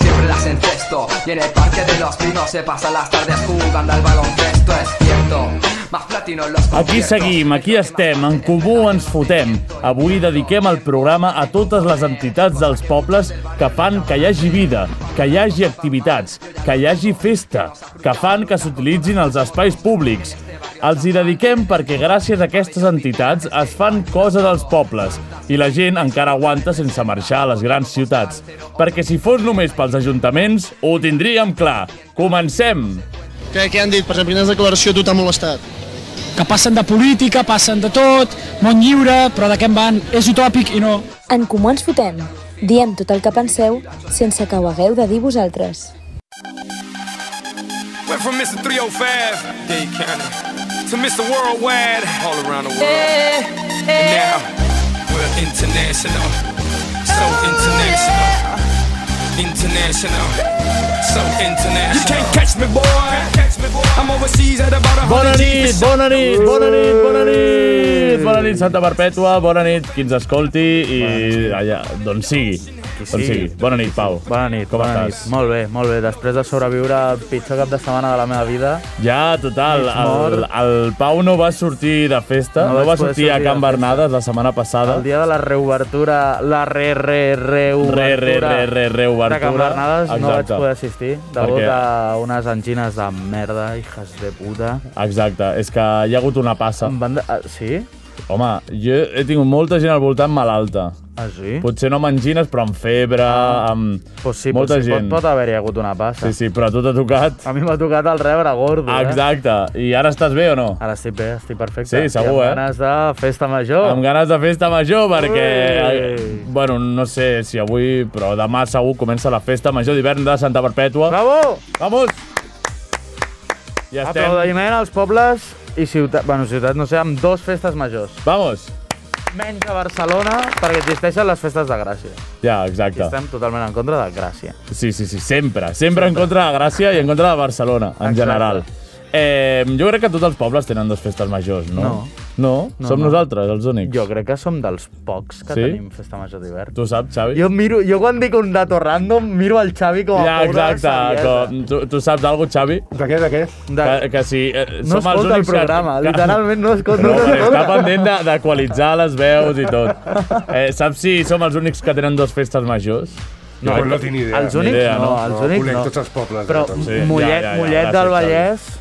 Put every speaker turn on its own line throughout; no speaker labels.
Siempre las encesto Y en el parque de los pinos se pasan las tardes jugando al baloncesto Es cierto, más platino en los
Aquí
conciertos.
seguim, aquí estem, en comú ens fotem. Avui dediquem el programa a totes les entitats dels pobles que fan que hi hagi vida, que hi hagi activitats, que hi hagi festa, que fan que s'utilitzin els espais públics. Els hi dediquem perquè gràcies a aquestes entitats es fan cosa dels pobles i la gent encara aguanta sense marxar a les grans ciutats. Perquè si fos només pels ajuntaments, ho tindríem clar. Comencem!
Què, què han dit? Per exemple, quines declaració a tu t'ha molestat?
que passen de política, passen de tot, món lliure, però de què en van? És utòpic i no.
En Comú Ens Fotem. Diem tot el que penseu sense que ho hagueu de dir vosaltres.
Went from Mr. 305, Dade County, to Mr. Worldwide, all around the world. And now we're international, so international, international, so international. You can't catch me, boy. I'm overseas at about a
Bona
hundred
nit,
G's.
bona nit, bona nit, bona nit! Bona nit, Santa Perpètua, bona nit, qui ens escolti i allà, d'on sigui. D'on sigui.
sigui.
Bona nit, Pau.
Bona nit,
Com
bona
estàs?
nit. Molt bé, molt bé. Després de sobreviure al pitjor cap de setmana de la meva vida,
Ja, total,
Ets mort.
el, el Pau no va sortir de festa,
No
no, va
vaig poder
sortir a
sortir
Can
de festa.
Bernades la setmana passada.
el dia de la reobertura, la re, re,
Re,
reobertura...
re, re, re, reobertura.
De Can Bernades no vaig
Exacte.
poder assistir,
Per
degut
què?
a unes angines de merda, hijas de puta.
Exacte, és que hi ha hagut una passa.
Em van de... ah, sí?
Home, jo he tingut molta gent al voltant malalta.
Ah, sí?
Potser no amb angines, però amb febre, amb...
pues sí,
molta
pot, sí,
gent.
Pot, pot haver-hi hagut una passa.
Sí, sí, però a tu t'ha tocat.
A mi m'ha tocat el rebre gordo, eh?
Exacte. I ara estàs bé o no?
Ara estic bé, estic perfecte.
Sí, segur,
I
eh?
amb ganes de festa major.
Amb ganes de festa major perquè...
Oh.
eh,
Ui.
Bueno, no sé si avui, però demà segur comença la festa major d'hivern de Santa Perpètua.
Bravo!
Vamos! Ja estem.
Aplaudiment als pobles i ciutat, bueno, ciutat no sé, amb dos festes majors.
Vamos!
Menys a Barcelona, perquè existeixen les festes de Gràcia.
Ja,
I
exacte.
estem totalment en contra de Gràcia.
Sí, sí, sí, sempre. Sempre en contra de Gràcia i en contra de Barcelona, en
Exacte.
general. Eh, jo crec que tots els pobles tenen dos festes majors, no?
No.
No?
No,
Som
no.
nosaltres, els únics.
Jo crec que som dels pocs que
Sí?
tenim festa major d'hivern.
Tu saps, Xavi?
Jo, miro, jo quan dic un dato random, miro el Xavi com a
Ja,
pura
exacte.
saviesa.
Com, tu, tu saps alguna cosa, Xavi?
De què, de què?
Que,
De...
que si eh,
No
som els
escolta el
únics
programa,
que...
literalment no escolta.
No,
No,
però està
escolta.
pendent de- d'equalitzar les veus i tot. Eh, saps si som els únics que tenen dos festes majors?
No, pues no tinc ni idea.
Els
Ni
únics
idea,
no,
no?
els
No,
únics
conec
no.
tots els pobles,
Però
eh, també.
Sí, ja,
Mollet,
ja, ja,
Mollet
gràcies,
del
Xavi.
Vallès,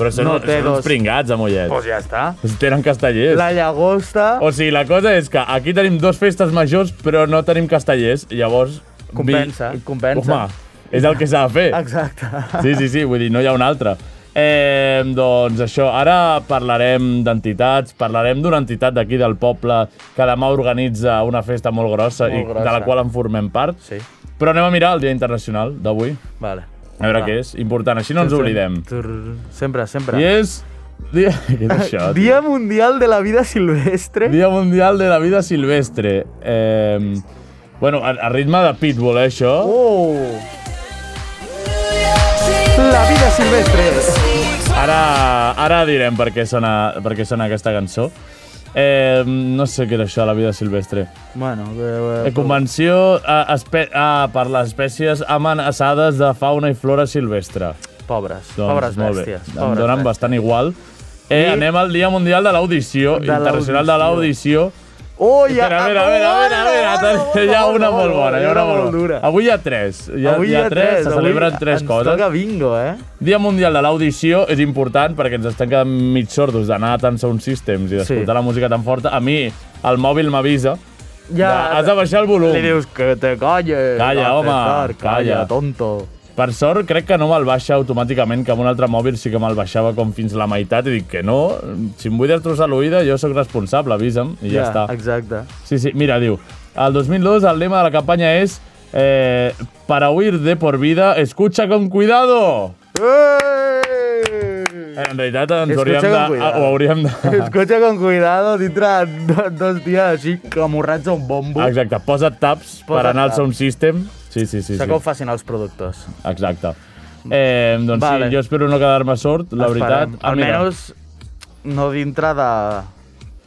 Però són,
No
no,
té
són uns
dos.
pringats, a Mollet.
doncs ja està.
Tenen castellers.
La Llagosta...
O sigui, la cosa és que aquí tenim dos festes majors, però no tenim castellers. Llavors... vi-
Compensa, compensa.
Home, és el que s'ha de fer.
Exacte.
Sí, sí, sí, vull dir, no hi ha un altre. Eh, doncs això, ara parlarem d'entitats, parlarem d'una entitat d'aquí del poble que demà organitza una festa molt grossa,
Molt
i de la
grossa.
qual en formem part.
Sí,
Però anem a mirar el Dia Internacional d'avui,
vale.
a veure què és. Important, així no ens oblidem.
Tur- Sempre, sempre.
I és... Dia... Què és això? tio?
Eh, Dia Mundial de la Vida Silvestre.
Dia Mundial de la Vida Silvestre. Eh, bueno, a, a ritme de Pitbull, eh, això.
Oh! La Vida Silvestre.
Ara, ara direm per què, sona, per què sona aquesta cançó. Eh, no sé què era això, la vida silvestre.
Bueno, eh,
Eh,
eh,
convenció a, espe a, per les espècies amenaçades de fauna i flora silvestre.
pobres,
Doncs,
pobres
molt bé.
bèsties.
Em
Pobres
donen
bèsties.
bastant igual. Eh,
I-
Anem al Dia Mundial de l'Audició,
De
Internacional de l'Audició.
Oh, ja...
Espera, espera, espera, espera, espera. hi ha una molt bona, hi ha una molt bona.
dura.
Avui hi ha tres. Hi ha, hi ha tres, se
avui
celebren tres
ens
coses.
toca bingo, eh?
Dia Mundial de l'Audició és important perquè ens estem quedant mig sordos d'anar a tant sound systems i d'escoltar
Sí.
la música tan forta. A mi, el mòbil m'avisa.
Ja,
de- Has de baixar el volum.
Li dius que te calles.
Calla,
no,
home,
César,
calla.
Calla, tonto.
Per sort, crec que no me'l baixa automàticament, que amb un altre mòbil sí que me'l baixava com fins la meitat i dic que no, si em vull destrossar l'oïda jo sóc responsable, avisa'm i ja, està.
Exacte.
Sí, sí, mira, diu, el 2002 el lema de la campanya és eh, para huir de por vida, escucha con cuidado. En realitat ens
Escucha
hauríem
con
de...
cuidado.
Ho hauríem de...
Escotxa con cuidado, dintre do, dos dies així, com morrats a un bombo.
Exacte, posa't taps per
Posa't
anar al
taps.
Sound System. Sí, sí, sí.
Això
sí.
com facin els productes.
Exacte. Eh, doncs vale.
Vale.
sí, jo espero no quedar-me sort, la veritat. Ah, mira,
Almenys no dintre de...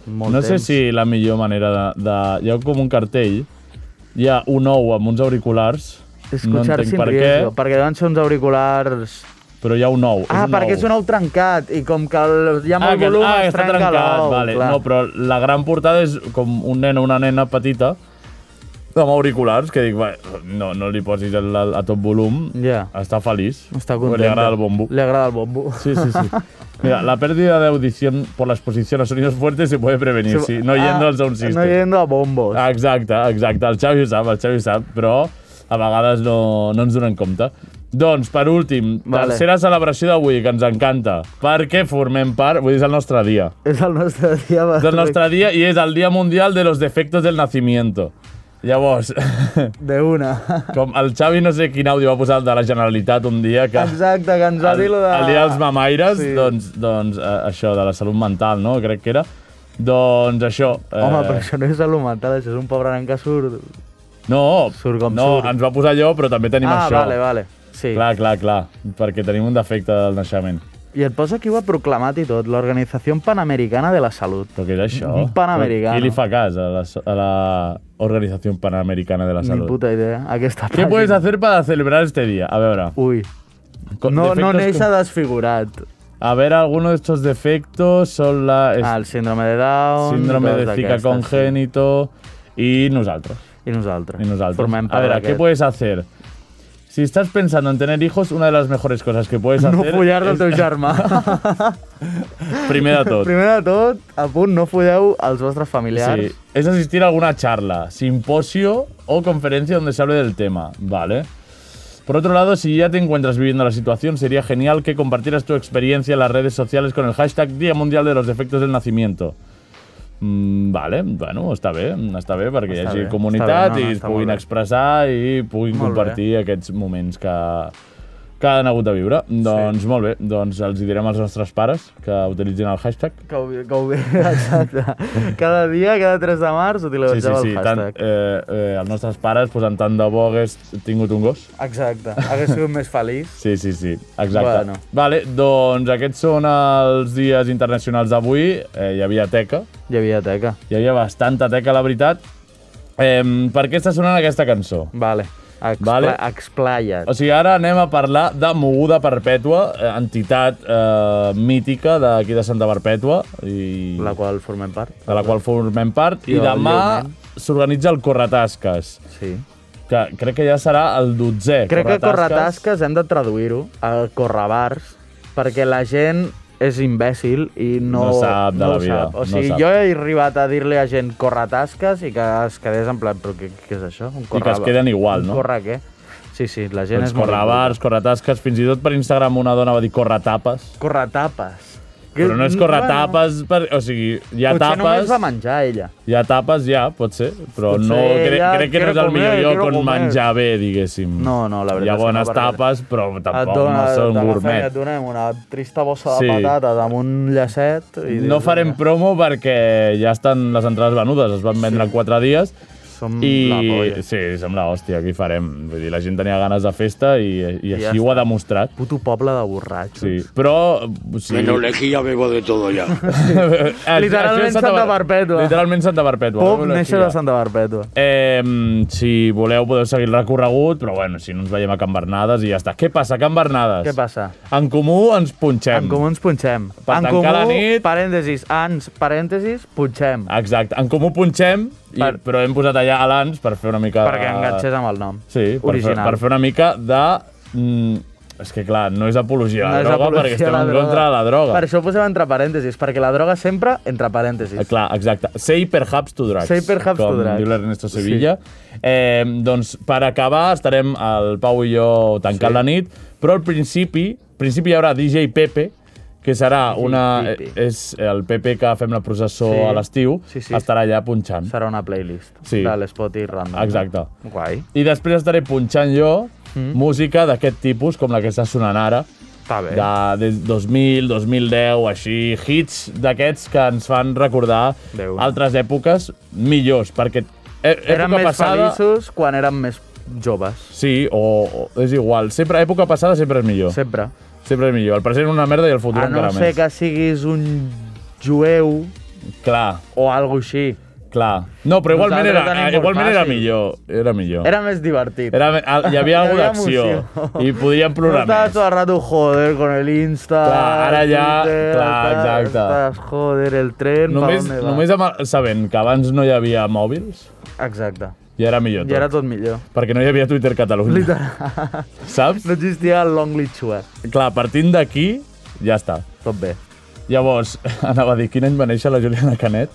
Molt
No sé
temps.
si la millor manera de, de... Hi ha com un cartell, hi ha un ou amb uns auriculars, no
Escuchar
entenc
sin
per
riesgo,
què,
perquè deuen ser uns auriculars...
però hi ha un ou.
Ah,
és un
perquè
ou.
és un ou trencat, i com que el, hi ha
Ah,
molt
que,
volum,
ah,
es
està
trenca
trencat,
l'ou,
vale.
clar.
No, però la gran portada és com un nen o una nena petita amb auriculars, que dic, va, no, no li posis el, el, a tot volum,
Ja.
està feliç,
Està
perquè
contenta.
li agrada el bombo.
Le agrada el bombo.
Sí, sí, sí. Mira, la pérdida de audición por la exposición a sonidos fuertes se puede prevenir, sí, no yendo al sound system.
ah, No yendo a bombos. Ah.
Exacte, exacte. El Xavi ho sap, el Xavi ho sap, però a vegades no, no ens donen compte. Doncs, per últim,
Vale.
vale. tercera celebració d'avui, que ens encanta, perquè formem part, vull dir, és el nostre dia.
És el nostre dia.
És el nostre dia i és el Dia Mundial de los Defectos del Nacimiento. Llavors,
De una.
com el Xavi no sé quin àudio va posar el de la Generalitat un dia que...
Exacte, que ens va
el,
dir lo de...
el dia dels mamaires, sí.
Sí.
doncs, doncs eh, això, de la salut mental, no? Crec que era. Doncs això...
Home,
Eh.
però això no és salut mental, això és un pobre nen que surt...
No,
Surt com
no
surt.
ens va posar allò, però també tenim
ah,
això.
vale, vale. Sí.
Clar, clar, clar, perquè tenim un defecte del naixement.
I et posa qui ho ha proclamat i tot, l'Organització Panamericana de la Salut.
Però què és això?
Un panamericano.
Però Qui li fa cas a la, a la Organización Panamericana de la
Ni
Salud?
puta idea, aquesta
¿Qué
pàgina.
puedes hacer para celebrar este día? A veure...
Ui,
co-
no, no
defectos
neix
com-
desfigurat.
A ver, alguno de estos defectos son la...
Ah,
Ah,
el síndrome de Down...
síndrome de
totes
zika
aquestes,
congénito... I nosaltres.
Sí. I nosaltres.
Y nosaltres.
Formem
a
part
ver, ¿qué
d'aquest.
puedes hacer? Si estás pensando en tener hijos, una de las mejores cosas que puedes
No
hacer...
follar del
es-
teu germà.
Primer de tot.
Primer de tot, a punt, no folleu als vostres familiars.
Sí, es asistir a alguna charla, simposio o conferencia donde se hable del tema, ¿vale? Por otro lado, si ya te encuentras viviendo la situación, sería genial que compartieras tu experiencia en las redes sociales con el hashtag Día Mundial de los Defectos del Nacimiento. Mm, vale, bueno, està bé, està bé perquè
Està
hi hagi
bé,
comunitat
està bé, no,
i
no,
es
està
puguin
molt bé.
expressar i puguin
Molt bé.
compartir aquests moments que, que han hagut de viure. Doncs molt bé, doncs els hi direm als nostres pares que utilitzin el hashtag
Que ho, que ho exacte. cada dia, cada 3 de març, utilitzeu
Sí, sí, sí.
el
Tant,
hashtag.
eh, eh, els nostres pares, pues, en tant de bo hagués tingut un gos.
Exacte, hagués sigut més feliç.
Sí, sí, sí, exacte.
Bueno.
Vale, doncs aquests són els dies internacionals d'avui. Eh, hi havia teca,
Hi havia teca.
hi havia bastanta teca, la veritat. Eh, per què està sonant aquesta cançó?
Vale. Expla
Vale.
vale. Explaya't.
O sigui, ara anem a parlar de Moguda Perpètua, eh, entitat eh, mítica d'aquí de Santa Perpètua. I...
la qual formem part.
de la qual formem part, i
Jo,
demà
lleument.
s'organitza el Corretasques.
Sí.
que crec que ja serà el 12è.
Crec que corretasques hem de traduir-ho a correbars, perquè la gent és imbècil i no,
No sap de
no
la
ho
vida,
Sap.
no
O sigui,
sap.
jo he arribat a dir-li a gent corretasques i que es quedés en plan, però què, què és això? Un
que es queden igual, no?
Un corre què? Sí, sí, la gent
Doncs
és molt...
correbars, corretasques, fins i tot per Instagram una dona va dir corretapes.
important. Corretapes.
Però no és corretapes, per, o sigui, hi ha
Potser només
tapes,
va menjar ella.
hi ha tapes ja, pot ser, però
Potser
no, cre
ella,
crec que no
quiero
és el
comer,
millor lloc
quiero
on
comer.
menjar bé, diguéssim.
No, no, la veritat
Hi ha
és que
bones
no, perquè-
tapes, però
Et
tampoc
dona,
no són
t'agafem i
gourmet.
Et donem una trista bossa de
Sí.
patates amb un llacet. I
No farem promo perquè ja estan les entrades venudes, es van vendre en quatre dies.
Som Mm, la
I
polla.
sí, sembla hòstia, aquí farem. Vull dir, la gent tenia ganes de festa i, i
ja
així ho ha demostrat.
Puto poble de borratxos.
Sí, però... eh, Sí.
En Olejía bebo de todo ya.
Eh,
Literalment
això és
Santa Perpètua.
Literalment Santa Perpètua.
Pop
Veure
néixer
si hi ha.
de Santa Barbètua.
Eh, si voleu podeu seguir el recorregut, però bueno, si no ens veiem a Can Bernades i ja està. Què passa, Can Bernades?
Què passa?
En comú ens punxem.
En comú ens punxem.
Per
en
tancar
comú,
la nit-
parèntesis, ens, parèntesis, punxem.
Exacte, en comú punxem, i,
Per-
però hem posat allà abans per fer una mica...
Perquè enganxés amb el nom.
Ah. Sí, per fer,
Original.
per fer una mica de... Mm, és que clar, no és apologia a la
és
droga
apologia
perquè
a
estem
la
en
droga.
contra de la droga.
Per això ho posem entre parèntesis, perquè la droga sempre entre parèntesis.
Eh, Clar, exacte. Say perhaps to drugs.
Say perhaps
com
to drugs.
diu l'Ernesto Sevilla. Sí. Eh, doncs per acabar estarem el Pau i jo tancant sí. la nit, però al principi, al principi hi haurà DJ Pepe, que serà una...
Pepe.
eh, És el Pepe que fem la processó
Sí.
sí. a l'estiu,
Sí, sí.
estarà allà punxant.
Serà una playlist
Sí.
de l'Spotty Random.
Exacte.
Guai.
I després estaré punxant jo mm. música d'aquest tipus, com la que està sonant ara,
Està bé.
de, de 2000, 2010, així, hits d'aquests que ens fan recordar
Déu.
altres èpoques millors, perquè e- època
Eren més
passada...
feliços quan érem més joves.
Sí, o, o és igual. Sempre, època passada sempre és millor. Sempre,
Sempre.
sempre és millor. El present una merda i el futur
A no
encara
ser
més.
que siguis un jueu
Clar,
o algo així.
clar. No, però igualment,
Nosaltres
era, eh,
tenim molt
igualment era
fàcil.
millor. Era millor.
Era més divertit.
Era, al- hi havia alguna d'acció.
emoció.
I podíem plorar
no estava
més.
tot el rato, joder, con el Insta...
Clar, ara ja-
Twitter,
clar,
tal,
exacte.
Estàs, joder, el tren,
Només,
pa on
només amb, el- sabent que abans no hi havia mòbils,
va? Exacte.
ja era millor tot.
I era tot millor.
Perquè no hi havia Twitter Catalunya.
Literal.
Saps?
No existia el long lichue.
Clar, partint d'aquí, ja està.
Tot bé.
Llavors, anava a dir, quin any va néixer la Juliana Canet?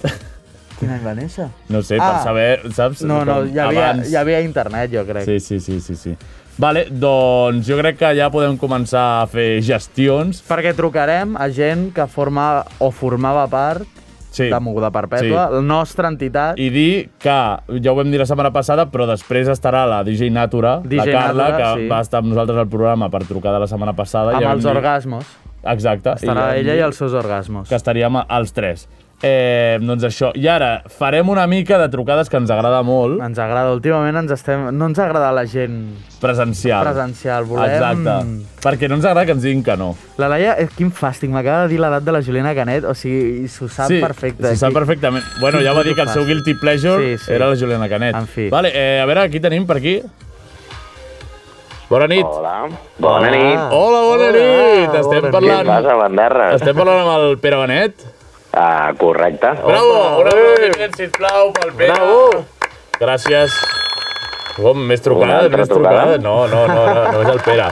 Quin any va néixer?
No sé,
Ah.
per saber, saps?
No, no,
Com
hi havia,
abans.
hi havia internet, jo crec.
Sí, sí, sí, sí, sí. Vale, doncs jo crec que ja podem començar a fer gestions.
Perquè trucarem a gent que forma o formava part
Sí.
de Moguda Perpètua, la nostra entitat,
I dir que, ja ho vam dir la setmana passada, però després estarà la DJ Natura, la
DJ
Carla,
Natura,
que
sí.
va estar amb nosaltres al programa per trucar de la setmana passada.
amb
vam
els
dir-
orgasmos.
Exacte.
Estarà
vam
ella
dir
i els seus orgasmos.
Que estaríem als tres. Eh, doncs això. I ara farem una mica de trucades que ens agrada molt,
Ens agrada, últimament ens estem... no ens agrada la gent
presencial.
presencial, volem...
Exacte. Perquè no ens agrada que ens diguin que no.
La Laia, eh, quin fàstic, m'acaba de dir l'edat de la Juliana Canet, o sigui, i s'ho sap perfecte.
s'ho sap
Qui-
perfectament. Bueno, ja va dir que el seu guilty pleasure
Sí, sí.
era la Juliana Canet.
En fi.
Vale, eh, a veure, aquí tenim per aquí. Bona nit. Hola,
Ah.
Bona nit.
Hola bona nit. Estem
Què
parlant...
passa, bandarra?
Estem parlant amb el Pere Benet.
Ah, correcte.
Bravo! Un aplaudiment, sisplau, pel Pere. Bravo! Gràcies. Com, més trucades,
altra
més
trucada?
trucades? No, no, no, no, no és el Pere.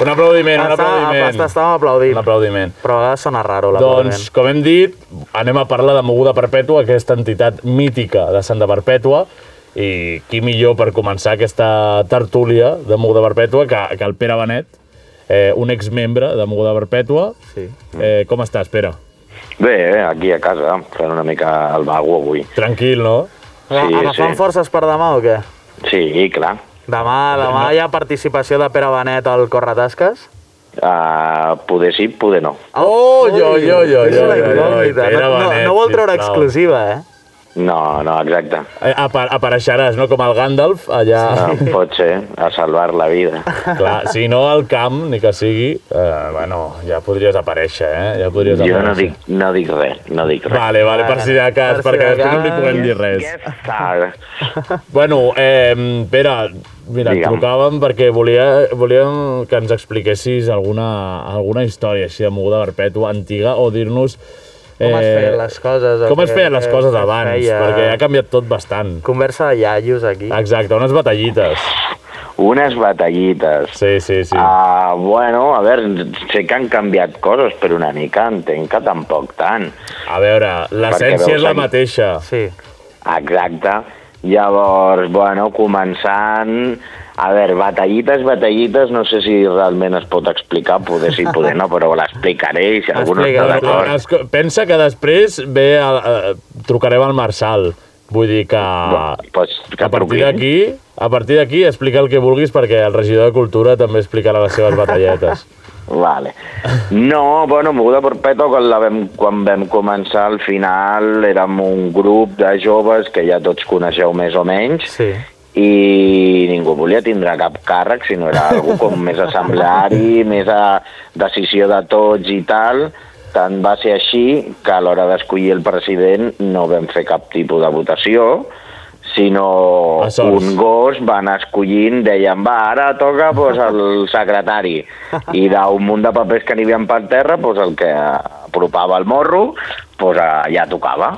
Un aplaudiment, un
Està- està-
aplaudiment.
Estàvem aplaudint,
Un aplaudiment.
però a vegades sona raro l'aplaudiment.
Doncs, com hem dit, anem a parlar de Moguda Perpètua, aquesta entitat mítica de Santa Perpètua, i qui millor per començar aquesta tertúlia de Moguda Perpètua que, que el Pere Benet, eh, un exmembre de Moguda Perpètua.
Sí.
Eh, com estàs, Pere?
Bé,
eh,
bé, aquí a casa, fent una mica el vago avui.
Tranquil, no?
Sí,
Agafant
sí.
forces per demà o què?
Sí, i clar.
Demà, demà hi ha participació de Pere Benet al Corretasques?
Uh, poder sí, poder no.
Oh, jo,
Ui,
jo, jo,
és
jo,
una
jo,
incògnita.
Pere
No, no,
Benet,
no vol treure
sisplau.
exclusiva, eh?
No, no, exacte.
Eh, apa apareixeràs, no? Com el Gandalf, allà...
No, pot ser, a salvar la vida.
Clar, si no al camp, ni que sigui, eh, bueno, ja podries aparèixer, eh? Ja podries
Jo
aparèixer.
no dic, no dic res, no dic res.
Vale, vale, per si de cas,
Per si
perquè
de
després no li
cas.
puguem dir res.
Què tal?
Bueno, eh, Pere, mira, et
Digue'm.
trucàvem perquè volia, volíem que ens expliquessis alguna, alguna història així de moguda perpètua, antiga, o dir-nos... eh,
Com es feien les coses, o
Com es
què-
feien les
què-
coses
què es
abans,
feia?
perquè ha canviat tot bastant.
Conversa de iaios aquí.
Exacte, unes batallites.
Unes batallites.
Sí, sí, sí.
Ah, bueno, a veure, sé que han canviat coses, però una mica entenc que tampoc tant.
A veure, l'essència
veus
és la
aquí.
mateixa.
Sí.
Exacte. Llavors, bueno, començant... A veure, batallites, batallites, no sé si realment es pot explicar, poder sí, poder no, però l'explicaré i si algú no està
Explica,
Bueno,
d'acord...
es, pensa que després ve el, eh, trucarem al Marçal. Vull dir que,
Bueno, pues, que
a partir
truqui.
d'aquí a partir d'aquí explica el que vulguis perquè el regidor de Cultura també explicarà les seves batalletes.
Vale. No, bueno, Moguda Perpètua, quan, la vam, quan vam començar, al final érem un grup de joves que ja tots coneixeu més o menys,
Sí.
i ningú volia tindre cap càrrec, sinó era algú com més assembleari, més a decisió de tots i tal. Tant va ser així que a l'hora d'escollir el president no vam fer cap tipus de votació, sinó
A sorts.
un gos va anar escollint, deien, va, ara toca pues, el secretari. I d'un munt de papers que n'hi havia per terra, pues, el que apropava el morro, pues, eh, ja tocava.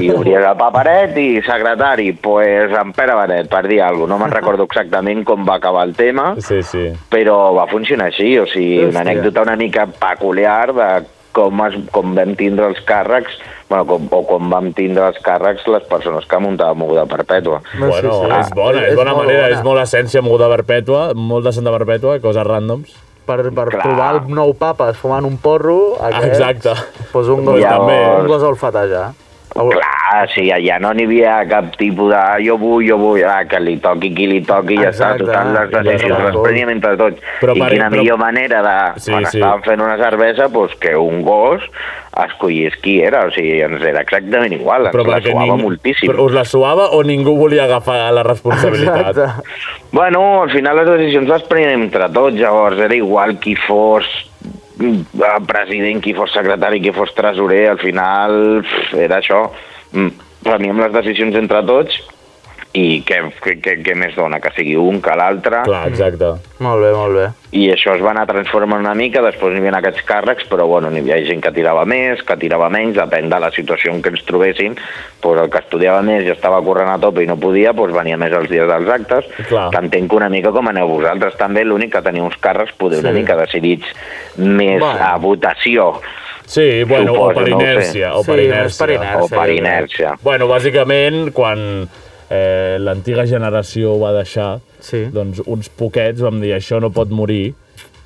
I obries el paperet i secretari, pues, en Pere Benet, per dir alguna cosa. No me'n recordo exactament com va acabar el tema,
Sí, sí.
però va funcionar així, o sigui,
Hòstia.
una anècdota una mica peculiar de com, es, com vam tindre els càrrecs, bueno, com, o com vam tindre els càrrecs les persones que muntàvem Moguda Perpètua.
No, sí,
bueno,
sí.
és bona,
Ah,
és,
és
bona
molt
manera,
bona.
és molt essència moguda perpètua, molt de Santa Perpètua, coses ràndoms.
Per, per
Clar.
provar el nou papa fumant un porro, aquest,
Exacte.
Pues un gos,
Llavors-
un gos a olfatejar. Au-
Clar,
allà, sí, allà no n'hi havia cap tipus de jo vull, jo vull, ah, que li toqui qui li toqui, ja està,
Exacte,
total, les
i les
decisions les
resolc.
preníem entre tots.
Però
I
pare,
quina
però-
millor manera de,
Sí,
quan
sí.
estàvem fent una cervesa, doncs que un gos escollís qui era, o sigui, ens era exactament igual, ens la
perquè
suava
ningú-
moltíssim.
Però us la suava o ningú volia agafar la responsabilitat?
Bueno, al final les decisions les prenem entre tots, llavors era igual qui fos mm, eh, president, qui fos secretari, qui fos tresorer, al final pff, era això. Mm, Preníem les decisions entre tots i què, què, què, què més dona? Que sigui un que l'altre.
Clar, exacte.
Molt bé, molt bé.
I això es va anar transformant una mica, després n'hi havia aquests càrrecs, però bueno, n'hi havia gent que tirava més, que tirava menys, depèn de la situació en què ens trobessin, doncs el que estudiava més i estava corrent a tope i no podia, doncs venia més els dies dels actes,
Clar.
t'entenc que una mica com aneu vosaltres també, l'únic que teniu uns càrrecs poder una
Sí.
mica decidits més
Bueno.
a votació.
Sí, bueno, o
Suposo,
per
no ho sé.
inèrcia. O per
Sí,
inèrcia.
és per inèrcia, O per jo crec. inèrcia.
Bueno, bàsicament, quan eh, l'antiga generació ho va deixar, sí. doncs uns poquets vam dir això no pot morir,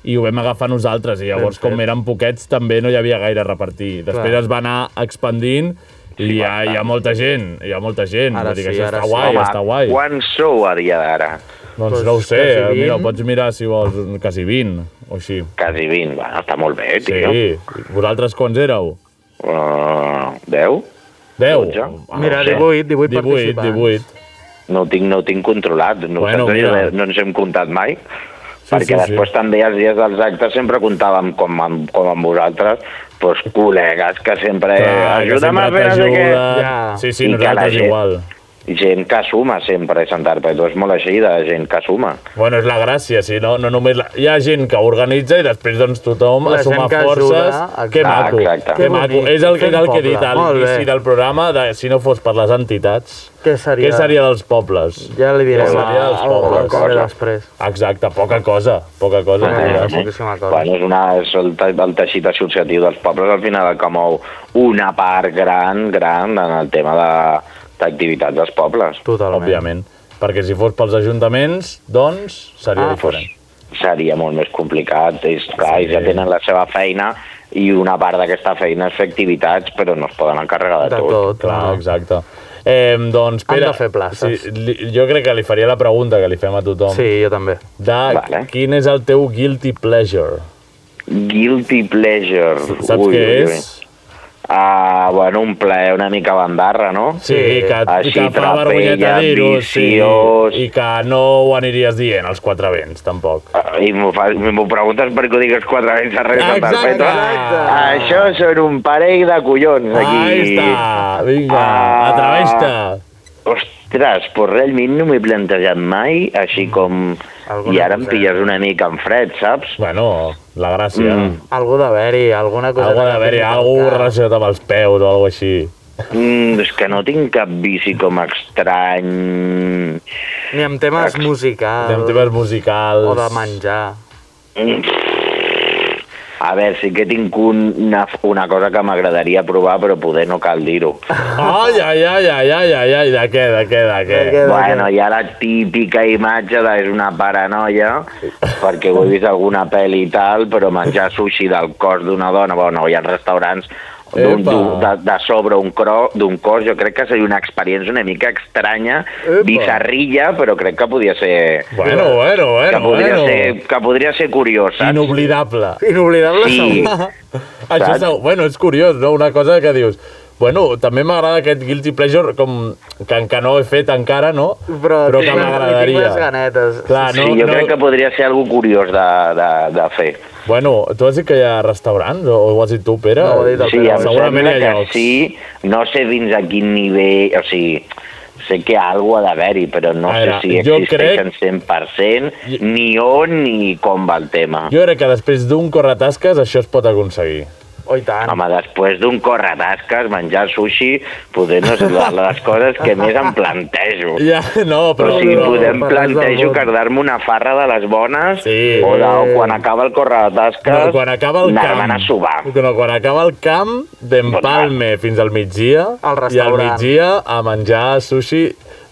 i ho vam agafar nosaltres, i llavors com eren poquets també no hi havia gaire a repartir. Després
Clar.
es va anar expandint i hi ha, hi ha molta gent, hi ha molta gent.
Ara
Vull dir que
sí,
això
ara
està
sí.
guai,
Home,
està guai.
Quants sou a dia d'ara?
Doncs no ho sé, eh, mira, ho pots mirar si vols, quasi 20 o així.
Quasi 20, bueno, està molt bé, tio.
Sí, vosaltres quants éreu?
Uh, 10?
10?
Mira,
18, 18 participants. 18.
No ho tinc, no ho tinc controlat, no,
Bueno,
bueno,
mira.
no ens hem comptat mai.
Sí,
Sí, perquè sí,
sí, sí.
després també els dies dels actes sempre comptàvem com amb, com amb vosaltres, doncs col·legues que sempre
Clar, que
ajuda'm a
sempre
fer no sé què.
t'ajuden. Ja. Sí,
I
sí,
que la
nosaltres
gent-
igual.
Gent que suma sempre, Sant Arpeto, és molt així de gent que suma.
Bueno, és la gràcia, sí, no, no només... La... Hi ha gent que organitza i després doncs tothom
La
a sumar
gent que ajuda,
forces.
exacte.
que
Ah,
maco,
Exacte.
que
Que
maco.
bonic,
És el que,
quin
era el que he
poble.
dit a
Molt bé.
l'inici del programa, de, si no fos per les entitats,
Què seria?
què seria dels pobles?
Ja li direm
Què
a-
seria dels
a la
pobles?
Mercè Poca cosa. després.
Exacte, poca cosa, poca cosa.
Eh,
diràs.
eh?
Doncs.
Bueno, és, una, és el, te- el teixit associatiu dels pobles al final el que mou una part gran, gran en el tema de- d'activitats dels pobles.
Totalment. Òbviament. Perquè si fos pels ajuntaments, doncs, seria
Ah,
diferent.
seria molt més complicat. És, clar, ells ja tenen la seva feina i una part d'aquesta feina és fer activitats, però no es poden encarregar de,
De tot, clar,
no.
exacte. Eh, doncs,
Han
Pere,
de fer places.
Sí, li, jo crec que li faria la pregunta que li fem a tothom.
Sí, jo també.
De vale. quin és el teu guilty pleasure?
Guilty pleasure.
Saps què és?
Ah, bueno, un plaer una mica bandarra, no?
Sí, que,
Així,
que fa
trapella,
vergonyeta dir-ho, sí,
viciós.
i que no ho aniries dient als quatre vents, tampoc.
I m'ho fa- m'ho preguntes perquè ho dic els quatre anys arreu de
Exacte.
perpètua. Això són un parell de collons, aquí.
Ahí està, vinga,
Ah.
atreveix-te.
Ostres, pues realment no m'he plantejat mai, així com... I ara em pilles una mica en fred, saps?
Bueno, la gràcia.
Mm.
Algú d'haver-hi, alguna cosa...
Algo d'haver-hi, algo relacionat amb els peus o alguna així.
Mm, és que no tinc cap vici com estrany...
Ni amb temes musicals.
Ni amb temes musicals.
O de menjar.
Mm, A veure, sí que tinc un, una, una cosa que m'agradaria provar, però poder no cal dir-ho.
Ai, ai, ai, ai, ai, ai, ai, de què, de què, de què?
Bueno, hi ha la típica imatge de és una paranoia, perquè ho he vist a alguna pel·li i tal, però menjar sushi del cos d'una dona, bueno, hi ha restaurants d'un,
Epa.
d'un, de, de sobre un, cro, d'un cos, jo crec que seria una experiència una mica estranya,
Epa.
bizarrilla, però crec que podia ser...
Bueno, bueno, bueno,
que podria
bueno.
Ser, que podria ser curiós, saps?
Inoblidable.
Inoblidable
Sí.
segur. Això és, bueno, és curiós, no? Una cosa que dius... Bueno, també m'agrada aquest guilty pleasure, com que, que no he fet encara, no? Però,
tinc
que
les- tinc les
m'agradaria.
ganetes.
Clar, no,
sí, jo
no-
crec que podria ser algo curiós de, de, de fer.
Bueno, tu has dit que hi ha restaurants, o ho has dit tu, Pere?
sí, em
Segurament
sembla
hi
que
ha llocs.
sí, no sé fins a quin nivell, o sigui, sé que alguna ha d'haver-hi, però no
A veure,
sé si
jo
existeixen 100%, ni on ni com va el tema.
Jo crec que després d'un corretasques això es pot aconseguir.
Oh, tant.
Home, després d'un corretasques, menjar sushi, poder no ser de les coses que més em plantejo.
Ja, no,
o
però...
sigui,
no,
podem
no,
plantejo quedar-me una farra de les bones
Sí.
o, de, o quan acaba el corretasques
No, quan acaba el camp.
anar-me'n a sobar.
No, quan acaba el camp d'empalme fins al migdia
Al
i al
restaurant.
migdia a menjar sushi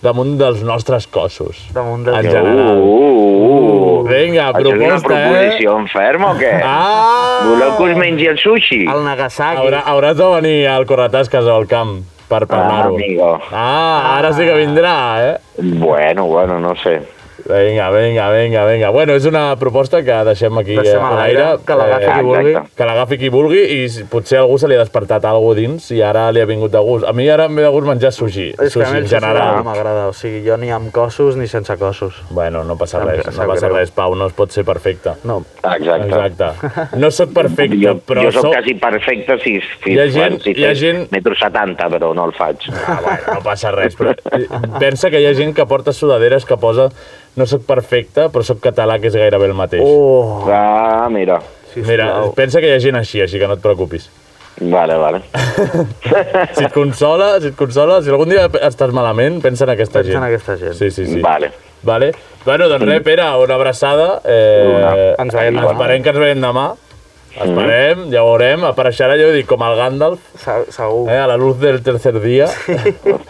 damunt dels nostres cossos.
Damunt
dels
Uh,
En general.
uh, uh.
Vinga,
Això és una
proposta, eh?
proposició enferma o què?
Ah!
Voleu que us mengi el sushi?
El Nagasaki.
Haurà, hauràs de venir al Corretasques o al camp per parlar-ho.
Ah, amigo.
Ah, ara sí que vindrà, eh?
Bueno, bueno, no sé.
Vinga, vinga, vinga, vinga. Bueno, és una proposta que deixem aquí
Deixem
eh,
a
a
l'aire,
l'aire.
que l'agafi qui vulgui.
Exacte. Que l'agafi qui vulgui i si- potser algú se li ha despertat alguna dins i ara li ha vingut de gust. A mi ara em ve de gust menjar sushi,
És que a
sushi
mi el
en
sushi
general.
no m'agrada, o sigui, jo ni amb cossos ni sense cossos.
Bueno, no passa
Em
res,
sap
no passa
greu.
res, Pau, no es pot ser perfecte.
No.
Exacte.
Exacte. No sóc perfecte,
jo,
però
jo soc
sóc-
quasi perfecte si, si,
Hi ha
bueno,
gent-
si
hi ha
fes
gent-
metro 70, però no el faig.
Ah, bueno, no passa res, però eh, pensa que hi ha gent que porta sudaderes que posa no sóc perfecte, però sóc català, que és gairebé el mateix.
Oh.
Ah, mira.
Mira, pensa que hi ha gent així, així que no et preocupis.
Vale, vale.
Si et consola, si et consola, si algun dia estàs malament, pensa en aquesta
Pensa
gent.
en aquesta gent.
Sí, sí, sí.
Vale.
Vale? Bueno, doncs res, Pere, una abraçada. Eh,
Ens veiem demà.
Esperem que ens veiem demà. Esperem, ja ho veurem. Apareixerà, jo dic, com el Gandalf.
Segur.
Eh, a la luz del tercer dia.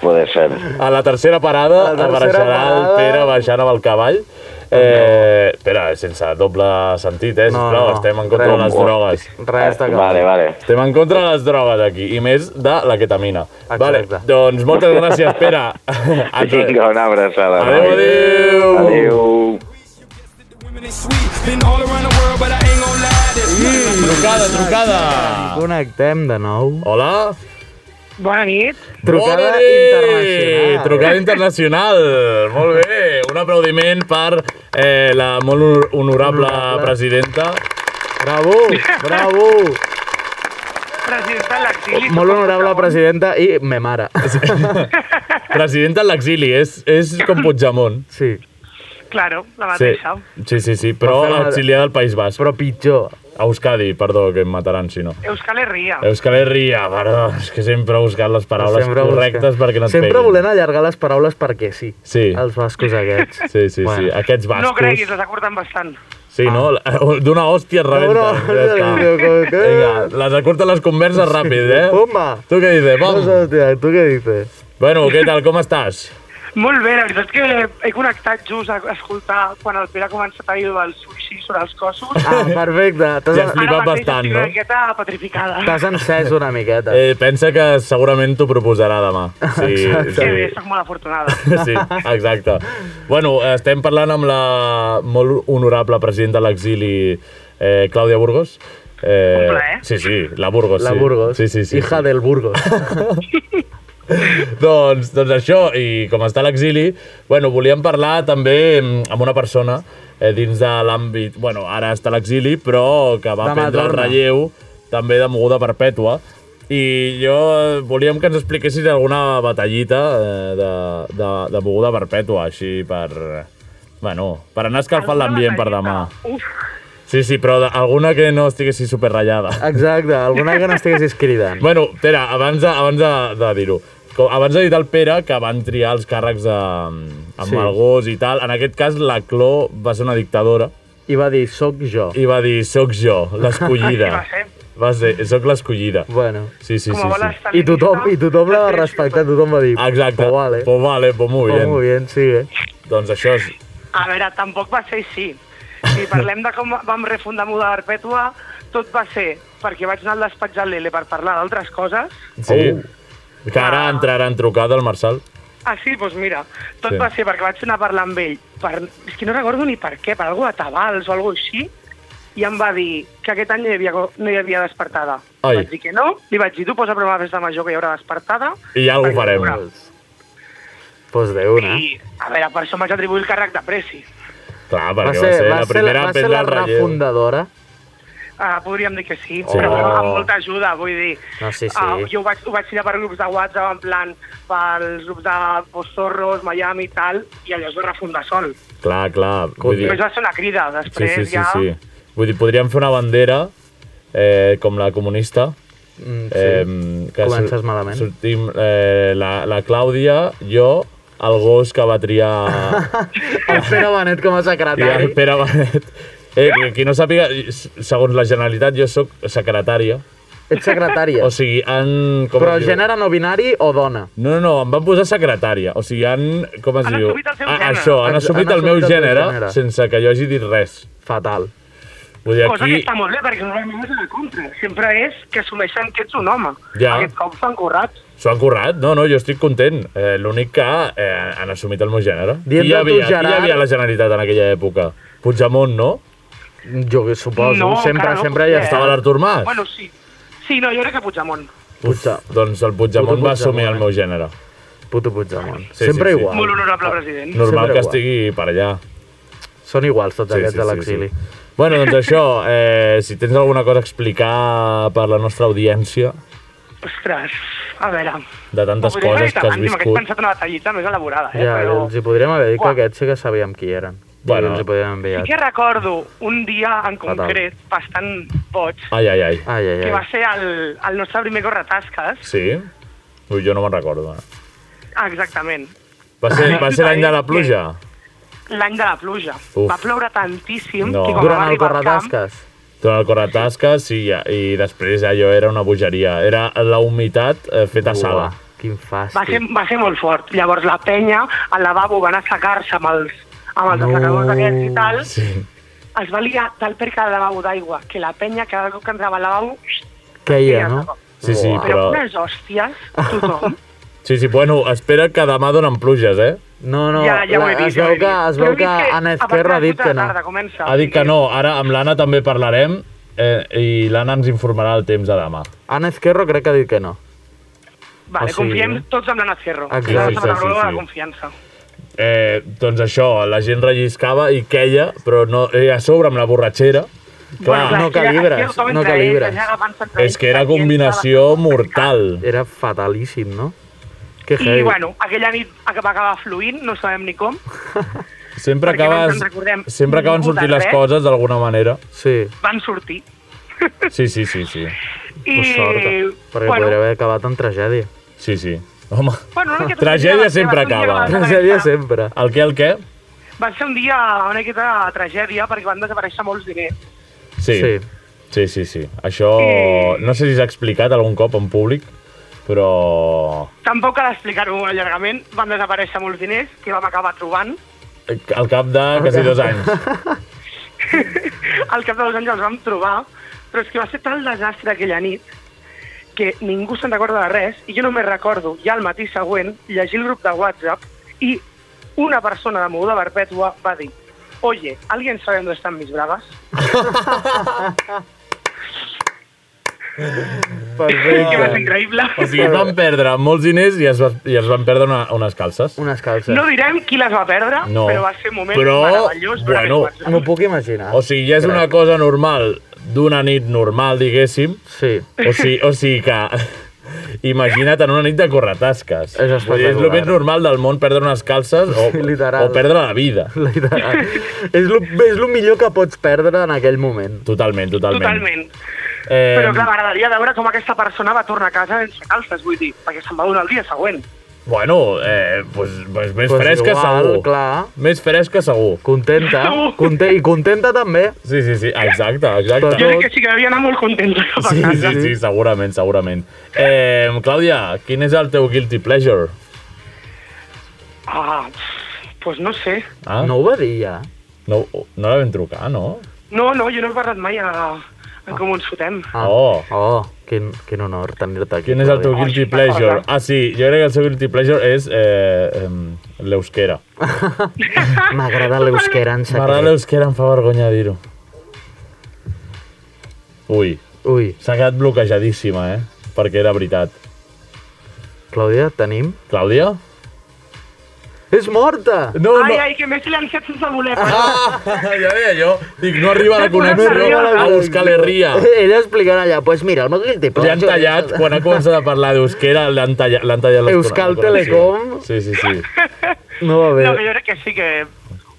Puede ser.
A la tercera parada
A la tercera
apareixerà
parada. Doncs
el Pere baixant amb el cavall. Eh, espera, sense doble sentit, eh, sisplau,
No, no,
estem en contra
res.
de les drogues.
Res de cap.
Vale, vale.
Estem en contra de les drogues aquí, i més de la ketamina.
Exacte.
Vale, doncs moltes gràcies, Pere. Adéu,
Vinga, una abraçada.
adéu.
Adéu.
Been all around the world, but I ain't gonna lie. There's nothing but
Trucada, trucada.
Connectem de nou.
Hola.
Bona nit.
Trucada
Bona nit.
internacional.
Trucada internacional. Molt bé. Un aplaudiment per eh, la molt honor- honorable presidenta.
Bravo, bravo. Oh,
Presidenta en l'exili.
Molt honorable presidenta i me mare.
Presidenta en l'exili, és, és com Puigdemont.
Sí.
Claro, la
Sí,
mateixa.
sí, sí, sí però
Va fer una-
exiliar del País Basc.
Però pitjor.
A Euskadi, perdó, que em mataran si no.
Euskal Herria.
Euskal Herria, perdó, és que sempre he buscat les paraules sempre correctes
busca-
perquè no et
Sempre
peguin.
volent allargar les paraules perquè sí.
Sí.
Els bascos aquests.
Sí, sí, bueno. sí, aquests bascos...
No creguis, Ah. les acorten bastant.
Sí, no? D'una hòstia es rebenta.
D'una hòstia, diu, com que-
Vinga, les acurten les converses ràpid, eh?
Pumba!
Tu què dices,
No,
pom?
hòstia, tu què dices?
Bueno, què tal, com estàs?
Molt bé, la veritat és que he connectat just a escoltar quan el Pere ha començat a dir del sushi sobre els cossos.
Ah, perfecte. T'has
Ja has flipat
Ara mateix
bastant,
estic
no?
una miqueta petrificada.
T'has encès una miqueta.
Eh, pensa que segurament t'ho proposarà demà. Sí,
Que bé,
sí.
soc molt afortunada.
Sí, exacte. Bueno, estem parlant amb la molt honorable presidenta de l'exili, eh, Clàudia Burgos. Eh,
Un plaer.
sí, sí, la Burgos.
La
sí.
Burgos.
Sí, sí, sí.
Hija del Burgos.
Doncs, doncs això, i com està l'exili, bueno, volíem parlar també mm, amb una persona eh, dins de l'àmbit... Bueno, ara està a l'exili, però que va
Demà
prendre el
torna.
relleu també de moguda perpètua. I jo eh, volíem que ens expliquessis alguna batallita eh, de, de, de moguda perpètua, així per... eh, Bueno, per anar escalfant l'ambient per demà.
Uf,
Sí, sí, però de- alguna que no estiguessi superratllada.
Exacte, alguna que no estiguessis cridant.
Bueno, Pere, abans de, abans de, de dir-ho, com- abans de dir al Pere que van triar els càrrecs de, amb
Sí.
sí. el gos i tal, en aquest cas la Cló va ser una dictadora
I va dir, soc jo.
i va dir, soc jo,
Ai,
l'escollida.
va ser.
va ser, soc l'escollida.
Bueno.
Sí, sí,
com a
sí.
bola
sí.
estalista.
I tothom, I tothom la va respectar, tothom va dir,
Exacte.
"Pues vale.
Pues vale, pues muy
Pues
bien.
muy bien, sigue.
Doncs això és...
A veure, tampoc va ser així. Si parlem de com vam refundar Muda Perpètua, tot va ser perquè vaig anar al despatx de l'Ele per parlar d'altres coses.
Sí.
Oh.
Que ara entrarà en trucada el Marçal.
Ah, sí? Doncs mira, tot
Sí.
sí. va ser perquè vaig anar a parlar amb ell. Per... És que no recordo ni per què, per alguna de tabals o alguna així, i em va dir que aquest any no hi havia, go- no hi havia despertada.
Ai.
Vaig dir que no, li vaig dir, tu posa prova a la festa major que hi haurà despertada.
I ja algú
perquè
farem.
hi haurà.
Pues de una.
I, a veure, per això em vaig atribuir el càrrec de pressi.
Clar, perquè va ser, la primera
va
a
ser
prendre
la
el relleu.
refundadora.
Uh, podríem dir que sí,
Sí.
però bueno, amb
Oh.
molta ajuda, vull dir.
No, sí, sí.
Ah, jo ho vaig, ho vaig tirar per grups de WhatsApp, en plan, pels grups de Pozorros, Miami i tal, i allò es va refundar sol.
Clar, clar. Vull dir,
Només va ser una crida,
Sí,
després
sí, sí,
ja...
sí. Vull dir, podríem fer una bandera eh, com la comunista. Eh,
Mm, sí.
que
Comences
sur-
malament.
Sortim eh, la, la Clàudia, jo, el gos que va triar
El Pere Benet com a
triar
secretari.
el Pere Benet. Eh, que qui no sàpiga, s- segons la Generalitat, jo sóc secretària.
Ets secretària.
O sigui, han... Com
Però
es diu?
gènere no binari o dona?
No, no, no, em van posar secretària. O sigui, han... Com es
Han
diu?
assumit el seu
Ah,
gènere.
Això, han
Han
assumit,
assumit
el meu
el teu
gènere,
gènere.
sense que jo hagi dit res.
Fatal.
Vull dir,
Cosa que
aquí...
està molt bé, perquè normalment és a la contra. Sempre és que assumeixen que ets un home.
Ja.
Aquest cop s'han currat.
S'ho han currat? No, no, jo estic content. Eh, L'únic que eh, han assumit el meu gènere.
Dient
Qui hi
de tu,
havia, qui
Gerard-
hi havia a la Generalitat en aquella època? Puigdemont, no?
Jo suposo,
No, sempre- encara no, sempre hi ha-
Estava l'Artur Mas.
Bueno, sí. Sí, no, jo crec que Puigdemont.
Puigdemont. Doncs el Puigdemont,
Puto
va assumir
Puigdemont, eh?
el meu gènere.
Puto Puigdemont. Sempre igual.
Molt honorable president.
Normal
Sempre
que
igual.
estigui per allà.
Són iguals tots aquests de l'exili.
Bueno, doncs això, eh, si tens alguna cosa a explicar per la nostra audiència,
Ostres, a veure...
de tantes
Ho podria haver
coses que has
dit abans, m'hagués
viscut...
pensat una batallita més elaborada, eh?
Ja,
però...
els hi podríem haver dit que
Uah.
aquests sí que sabíem qui eren.
Bueno.
Bueno, els hi podríem haver
Sí que
enviat.
recordo un dia en concret bastant boig,
Ai, ai, ai.
Ai, ai,
que va ser el, el nostre primer corretasques.
Sí? Ui, jo no me'n recordo. eh.
Ah, exactament.
Va ser, va ser l'any de la pluja?
L'any de la pluja.
Uf.
Va ploure tantíssim
No.
que quan va arribar al camp...
Durant el Corretasques, sí, ja. i després allò era una bogeria. Era la humitat eh, feta
Uah,
sala.
Quin fàstic.
va ser, va ser molt fort. Llavors la penya al lavabo va anar a secar-se amb els, amb els no. assecadors d'aquests i tal.
Sí.
Es va liar tal per cada lavabo d'aigua que la penya cada cop que entrava al lavabo...
Queia, no?
Sí, sí,
Però
però...
unes hòsties, tothom.
Sí, sí, bueno, espera que demà donen pluges, eh?
No, no, Ja, ja ho he la- vist, es ja ho veu he que- vist. es veu Però he vist que que Anna a partir Ezquerra ha de dit tota que no. la tarda
comença.
Ha dit que no. Ara amb l'Anna també parlarem eh, i l'Anna ens informarà el temps de demà.
Anna Esquerro crec que ha dit que no. Ah,
Vale,
O sigui-
confiem tots en l'Anna Cerro.
Exacte,
La
sí,
setmana
sí,
de
sí.
la confiança.
Eh, doncs això, la gent relliscava i queia, però no, eh, a sobre amb la borratxera. Clar,
clar,
no
aquí- aquí
calibres,
tothom
no
entre ells,
calibres.
allà agafant-se entre
És que era combinació mortal.
Era fatalíssim, no? Que
I, bueno, aquella nit va acabar fluint, no sabem ni com.
sempre
perquè no ens
acabes,
en recordem
sempre acaben
ningú de
sortint les
res.
coses d'alguna manera.
Sí.
Van sortir.
Sí, sí, sí, sí.
I,
Perquè
bueno,
podria haver acabat en tragèdia.
Sí, sí. Home,
Bueno, una miqueta
tragèdia
un dia
sempre
va ser, va
acaba.
ser un dia que va ser una miqueta-
sempre.
El què, el què?
Va ser un dia una miqueta de tragèdia perquè van desaparèixer molts diners.
Sí. Sí, sí, sí. sí. Això no sé si s'ha explicat algun cop en públic, però
Tampoc cal explicar-ho molt llargament. Van desaparèixer molts diners que vam acabar trobant.
eh, al cap de quasi dos anys.
Al cap de dos anys els vam trobar, però és que va ser tal desastre aquella nit que ningú se'n recorda de res i jo només recordo ja al matí següent llegir el grup de WhatsApp i una persona de Moguda Perpètua va dir Oye, ¿alguien sabe dónde están mis bragas? Que va ser increïble.
O sigui, es van perdre molts diners i es, va, i es van perdre una, unes calces.
Unes calces.
No direm qui les va perdre,
No.
però va ser un moment
Però,
meravellós.
bueno,
M'ho puc imaginar.
O sigui, ja és una cosa normal d'una nit normal, diguéssim.
Sí.
O sigui, o sigui que... Imagina't en una nit de corretasques. És
espectacular.
És el més normal del món perdre unes calces o,
Literal.
o perdre la vida.
Literal. és, lo, és lo millor que pots perdre en aquell moment.
Totalment, totalment.
Totalment.
Eh,
Però clar, m'agradaria veure com aquesta persona va tornar a casa sense calces, vull dir, perquè se'n va donar el dia següent.
Bueno, eh, pues, pues més
Pues
pues fresca
igual,
segur.
clar.
Més fresca segur.
Contenta.
Segur.
Conte I contenta també.
Sí, sí, sí, exacte,
Jo
exacte.
crec que sí que devia anar molt contenta cap a
Sí,
casa.
sí, sí, segurament, segurament. Eh, Clàudia, quin és el teu guilty pleasure?
Ah, pues no sé.
Ah?
No ho va dir ja.
No, no la vam trucar, no?
No, no, jo no he parlat mai a, a com ens fotem.
Ah,
oh.
Oh, quin, quin honor tenir-te aquí.
Quin és el teu
Clàudia.
guilty pleasure? Ah, sí, jo crec que el seu guilty pleasure és eh, em, l'euskera.
M'agrada l'euskera en secret.
M'agrada l'euskera, em fa vergonya dir-ho. Ui.
Ui.
S'ha quedat bloquejadíssima, eh? Perquè era veritat.
Clàudia, tenim?
Clàudia?
És morta!
No,
ai, ai, que m'he silenciat sense voler.
Ah, ja veia jo. Dic, no arriba la
No podem
connexió
arribar.
a buscar l'herria.
Ella explicant allà, doncs pues mira, el meu
Li
guilty
han
pleasure...
tallat,
és-
quan ha començat a parlar d'euskera, l'han tallat, l'han tallat les
Euskal Telecom.
Sí, sí, sí.
No va
No,
bé.
que jo crec que sí que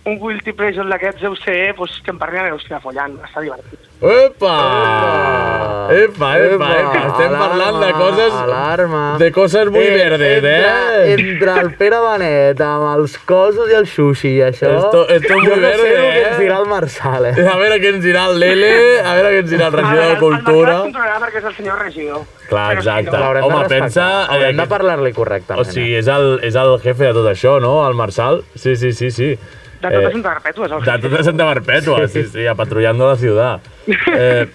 un guilty pleasure d'aquests deu ser pues, que em parlin a l'Eustia follant. Està divertit.
Epa! Epa, epa, epa. Estem parlant de coses...
Alarma. Eh,
De coses muy verdes,
entre,
eh?
Entre el Pere Benet, amb els cosos i el sushi i això...
Esto- esto muy
jo no
verde,
sé el que
eh?
ens dirà el Marçal, eh?
A veure què ens dirà el Lele, a veure què ens dirà el regidor de Cultura.
El controlarà perquè és el senyor regidor.
Clar, exacte.
L'haurem de
Home,
respectar.
pensa... eh,
Haurem de
aquest-
parlar-li correctament.
O sigui, és el, és el jefe de tot això, no? El Marçal? Sí, sí, sí, sí.
De tota Santa Perpètua, saps?
Eh, De tota Santa Perpètua, sí, sí, apatrullando la ciutat. Eh,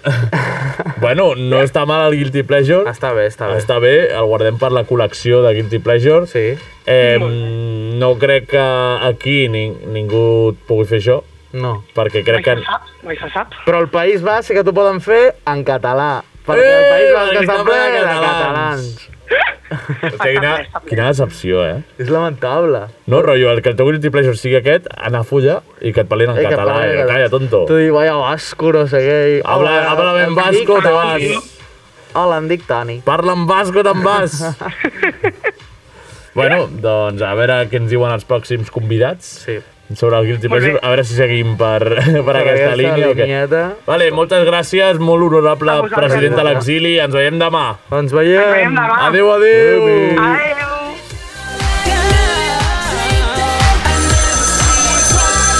bueno, no està mal el Guilty Pleasure.
Ah,
Està bé, està bé. Està bé, el guardem per la col·lecció de Guilty Pleasure. Sí. Eh, no crec que aquí ni, ningú et pugui fer això. No. Perquè crec que...
Mai se sap.
Però el País va sí que t'ho poden fer en català. Perquè el
Eh,
País
el
Basc està
Gran
ple
Premi
de
de
catalans.
Hòstia, quina, quina decepció, eh?
És lamentable.
No, rotllo, el que el teu Guilty Pleasure sigui aquest, anar a fulla i que et parlin en
Eh, que
català.
parlen en
eh,
català.
calla, tonto.
Tu dius, vaya vasco, no sé què. i-
Habla-
Hola,
habla ben
em
vasco,
dic
te
Toni.
vas.
Hola, em dic Toni.
Parla en vasco, te'n vas. Bueno, doncs a veure què ens diuen els pròxims convidats sí. sobre el Guilty
Molt bé.
Pleasure. A veure si seguim per, per,
Per
aquesta,
aquesta
línia. o què.
lineeta.
Vale, moltes gràcies, molt honorable
vosaltres.
president de l'exili. Ens veiem demà.
Ens veiem. Ens veiem demà.
Adéu, adéu.
Adéu.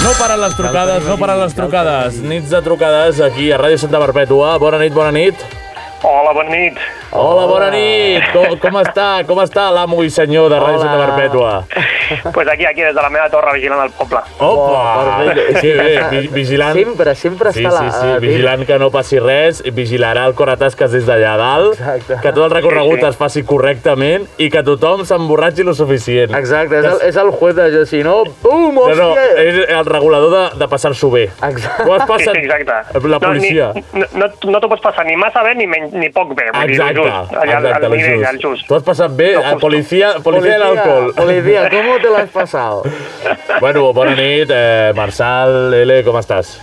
No paren les trucades, no paren les trucades. Nits de trucades aquí a Ràdio Santa Perpètua. Bona nit, bona nit.
Hola, bona nit.
Hola, bona nit. Com, com està? Com està l'amo i senyor de Ràdio
Hola.
Santa Perpètua?
Pues aquí, aquí, des de la meva torre, vigilant el poble.
Opa! que bé, vi- vigilant.
Sempre, sempre
Sí, sí,
està la...
sí,
eh,
vigilant que no passi res, vigilarà el Coratasques des d'allà dalt, Exacte. que tot el recorregut
Sí, sí.
es faci correctament i que tothom s'emborratxi lo suficient.
Exacte, és el, és el juez de jo, si no, pum,
No,
hòstia!
no, és el regulador de, de passar-s'ho bé.
Exacte.
Ho has passat
Exacte.
la policia.
No, ni, no, no, no t'ho pots passar ni massa bé ni, men, ni poc bé. Vull dir,
Exacte,
just, allà,
exacte,
al,
lo
nivell,
just.
al just.
T'ho has passat bé,
Lo
el
justo.
policia, policia de l'alcohol.
Policía, ¿cómo te lo has pasado?
Bueno, bona nit, eh, Marçal, L, com estàs?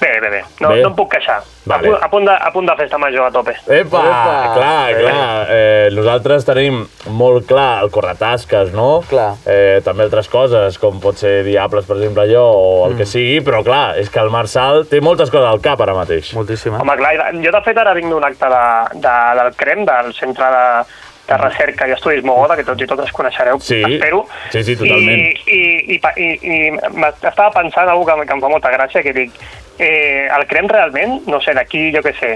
Bé, bé, bé. No,
Bé.
no em puc queixar.
Vale.
A, punt, a, punt de, a punt de festa major a tope.
Epa! Epa. Clar, clar. Eh, nosaltres tenim molt clar el corretasques, no? Clar. Eh, també altres coses, com pot ser Diables, per exemple, allò, o el mm. que sigui, però clar, és que el Marçal té moltes coses al cap ara mateix. Moltíssimes.
Home, clar, jo de fet ara vinc d'un acte de, de, del CREM, del Centre de, de Recerca i Estudis Mogoda, que tots i totes coneixereu,
Sí.
espero.
Sí, sí, totalment.
I, i, i, pa- i, i m'est- estava pensant en alguna cosa que, em- que em fa molta gràcia, que dic, eh, el CREM realment, no sé, d'aquí, jo què sé,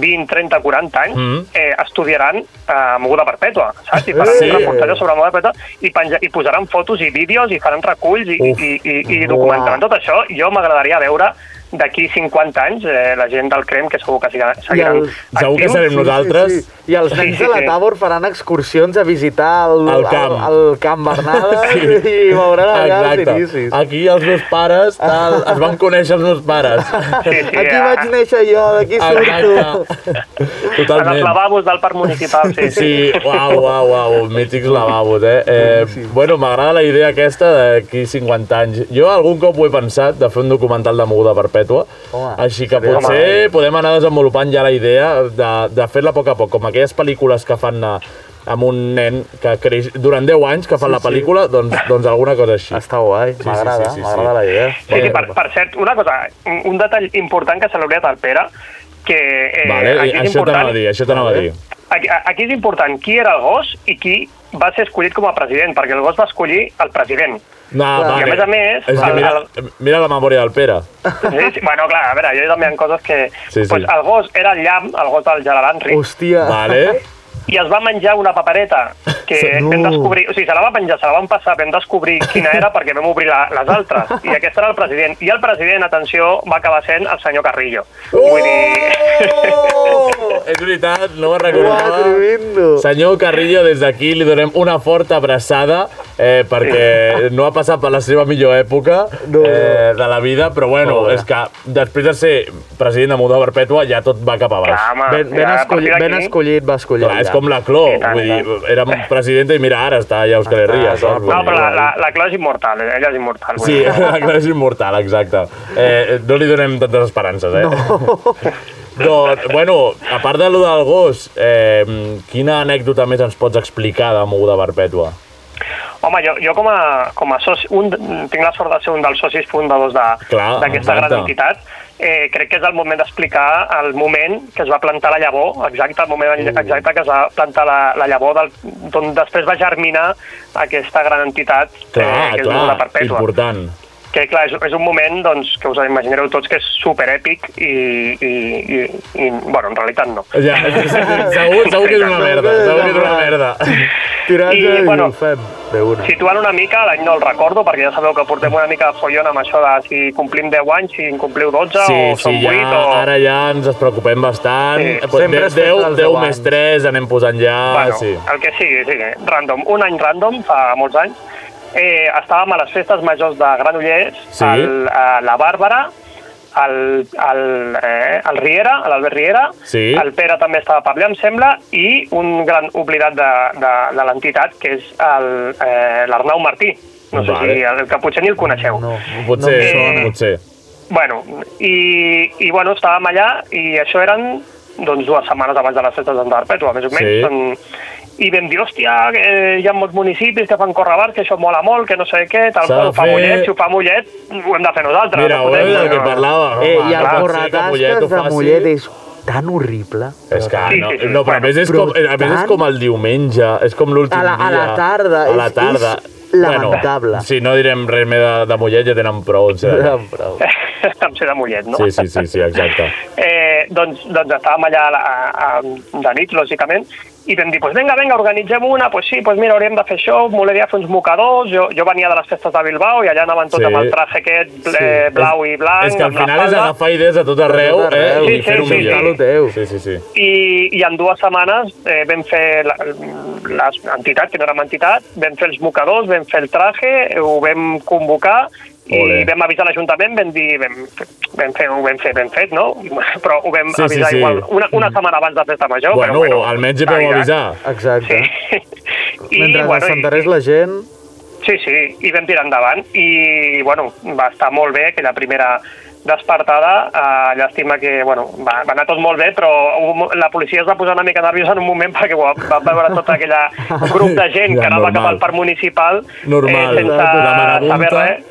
20, 30, 40 anys,
Mhm.
eh, estudiaran eh, moguda perpètua, saps? I faran
Sí.
sí. reportatges sobre moguda perpètua i, penja, i posaran fotos i vídeos i faran reculls i,
Uf.
i, i, i documentaran tot això. Jo m'agradaria veure d'aquí 50 anys eh, la gent del CREM, que segur que siga- seguiran
el-
Segur que serem nosaltres.
Sí, sí. I els nens de la Tàbor faran excursions a visitar el,
El camp.
El, el camp Bernada sí. i veuran allà els
Exacte.
inicis.
Aquí els meus pares tal, es van conèixer els meus pares.
eh,
Aquí vaig néixer jo, d'aquí surto.
en els
Totalment.
lavabos del parc municipal. Sí,
Sí, uau, uau, uau, mítics lavabos, eh? eh bueno, m'agrada la idea aquesta d'aquí 50 anys. Jo algun cop ho he pensat, de fer un documental de moguda perpètua,
Home,
així que
seria
potser podem anar desenvolupant ja la idea de, de fer-la a poc a poc, com aquelles pel·lícules que fan a, amb un nen que creix durant 10 anys que fan
Sí,
la
sí.
pel·lícula, doncs, doncs alguna cosa així. Està
guai, m'agrada, m'agrada la idea.
Sí, sí, per, per cert, una cosa, un un detall important que se l'hauria del Pere, que eh,
Vale,
aquí és
això t'anava a
important,
dir, això t'anava a dir.
aquí, aquí és important qui era el gos i qui va ser escollit com a president, perquè el gos va escollir el president.
No,
I
vale.
a més a més,
És que
el,
mira,
el,
mira la memòria del Pere.
Sí, sí, bueno, clar, a veure, jo també en coses que...
Sí, sí.
Pues el gos era el llamp, el gos del Gerard Henry.
Hòstia.
Vale.
I es va menjar una papereta que
No.
no. vam descobrir... O sigui, se la va menjar, se la van passar, vam descobrir quina era perquè vam obrir la, les altres. I aquest era el president. I el president, atenció, va acabar sent el senyor Carrillo. Vull dir...
Oh!
Oh!
És veritat, no ho recordava. Senyor Carrillo, des d'aquí li donem una forta abraçada eh, perquè no ha passat per la seva millor època eh, de la vida, però bueno,
Molt bé.
és que després de ser president de Moda Perpètua ja tot va cap a baix.
ben, ben, escollit, ben escollit, va escollir.
Clar, és com la Cló, vull dir, era presidenta i mira, ara està ja Euskal Herria. saps? eh? Vull
Ah, No,
dir,
però la, la, la Clara és immortal, eh? ella és immortal. vull
Sí,
dir.
la Clara és immortal, exacte. Eh, no li donem tantes esperances, eh? No. doncs, bueno, a part de lo del gos, eh, quina anècdota més ens pots explicar de Moguda Perpètua?
Home, jo, jo com a, com a soci, un, tinc la sort de ser un dels socis fundadors de-
Clar,
d'aquesta gran
exacte.
entitat, eh, crec que és el moment d'explicar el moment que es va plantar la llavor, exacte, el moment
Mm.
exacte que es va plantar la, la llavor del, d'on després va germinar aquesta gran entitat eh,
Clar,
que és
clar,
la perpètua.
important.
que clar, és, és un moment doncs, que us imaginareu tots que és super èpic i, i, i, i bueno, en realitat no.
Ja, segur, segur que és una merda, segur que és una merda.
Tiratge i,
bueno,
ho fem de una.
Situant una mica, l'any no el recordo, perquè ja sabeu que portem una mica de follon amb això de si complim 10 anys, si en compliu 12
Sí,
o
sí,
són 8
ja,
o...
ara ja ens es preocupem bastant.
Sí.
Sí. Pues
Sempre es
10,
festa
10,
dels
10
deu
més 3 anem posant ja...
bueno,
sí.
el que sigui, sí, random. Un any random, fa molts anys, eh, estàvem a les festes majors de Granollers,
Sí.
el, a la Bàrbara, el, el, eh, el Riera, l'Albert Riera,
Sí.
el Pere també estava per allà, em sembla, i un gran oblidat de, de, de l'entitat, que és el, eh, l'Arnau Martí. No sé
Vale.
si el, que potser ni el coneixeu. No,
Potser, no potser.
Bueno, i, i bueno, estàvem allà i això eren doncs, dues setmanes abans de les festes d'en Perpètua, més o menys.
Sí.
Són... I vam dir, hòstia, que hi ha molts municipis que fan correbars, que això mola molt, que no sé què, tal
S'ha de
qual, fa
fer-
Mollet, si ho fa Mollet, ho hem de fer nosaltres.
Mira,
no
ho
podem-
és el que parlàvem.
Eh,
home,
I el
clar, sí, que Mollet ho
corratasques de
faci.
Mollet és tan horrible.
És que
Sí,
no,
sí, sí.
no però a més, és
Però
com, a més és
tant.
com el diumenge, és com l'últim dia.
A la- a la tarda,
A la
és-
tarda.
és lamentable.
Bueno, si no direm res més de, de Mollet, ja tenen prou. em sembla.
Tenen prou.
em sé de Mollet, no?
Sí, sí, sí, sí, exacte.
Eh, doncs, doncs estàvem allà a, a, a, de nit, lògicament, i vam dir, pues vinga, vinga, organitzem una, pues sí, pues mira, hauríem de fer això, m'olaria fer uns mocadors, jo, jo venia de les festes de Bilbao i allà anaven tots
Sí.
sí. amb el traje aquest ble, sí.
Sí.
blau i blanc,
és que al
amb la
final és
falda.
agafar idees a tot arreu,
A tot arreu.
eh,
Sí,
i
sí,
fer-ho
sí,
millor.
sí. Lo
teu. Sí, sí, sí.
I, i en dues setmanes eh, vam fer la, les entitats, que no érem entitat, vam fer els mocadors, vam fer el traje, ho vam convocar i
Ole.
vam avisar l'Ajuntament, vam dir, vam, vam fer, ho vam fer ben fet, no? Però ho vam
Sí, sí,
avisar
sí. Mm.
igual una, una setmana abans de festa major,
bueno,
però bueno.
almenys hi podeu
Exacte.
avisar.
Exacte.
I,
Mentre
bueno, i-
s'enterés la gent...
Sí, sí, i vam tirar endavant i, bueno, va estar molt bé aquella primera despertada, eh, llàstima que, bueno, va, va anar tot molt bé, però un- la policia es va posar una mica nerviosa en un moment perquè va, va veure tot aquell grup de gent
Ja,
que anava cap
normal.
al parc municipal eh,
Normal.
sense
La marabunta.
saber res.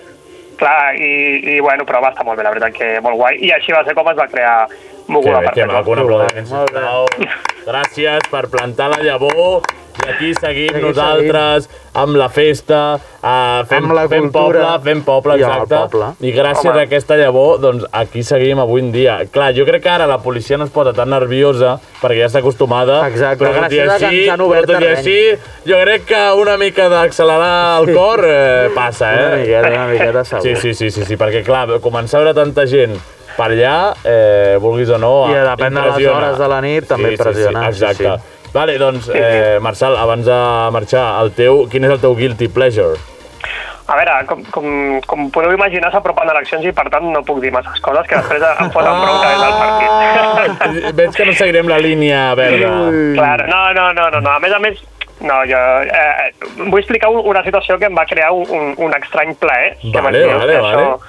Clar, i, i bueno, però va estar molt bé, la veritat que molt guai, i així va ser com es va crear
Que,
Moguda
bé, que maco, un aplaudiment,
Molt bé.
sisplau. Gràcies per plantar la llavor i aquí seguim
Aquí
nosaltres amb la festa, eh, fem,
Amb la
fem poble,
cultura
fem poble,
i amb el
exacte.
poble.
I gràcies
Home.
a aquesta llavor, doncs aquí seguim avui en dia. Clar, jo crec que ara la policia no es posa tan nerviosa perquè ja està acostumada, exacte, però tot i
gràcies a que
així,
ens han
però
obert
tot i
terreny.
així, jo crec que una mica d'accelerar el cor eh, passa, eh?
Una miqueta, una miqueta, segur.
Sí, sí, sí, sí, sí, perquè clar, començar a veure tanta gent per allà, eh, vulguis o no,
I depèn de les
impressiona.
hores de la nit, també impressiona,
Sí, sí,
sí,
exacte.
sí.
Vale, doncs, eh, Marçal, abans de marxar, el teu, quin és el teu guilty pleasure?
A veure, com, com, com podeu imaginar, s'apropen eleccions i, per tant, no puc dir masses coses que després em foten bronca des del partit.
Ah! Veig que no seguirem la línia verda.
Clar, no, no, no, no, no. A més a més, no, jo... Eh, vull explicar un- una situació que em va crear un- un, un estrany plaer. que vaig
Vale,
dir,
vale,
"Hòstia,
vale.
això-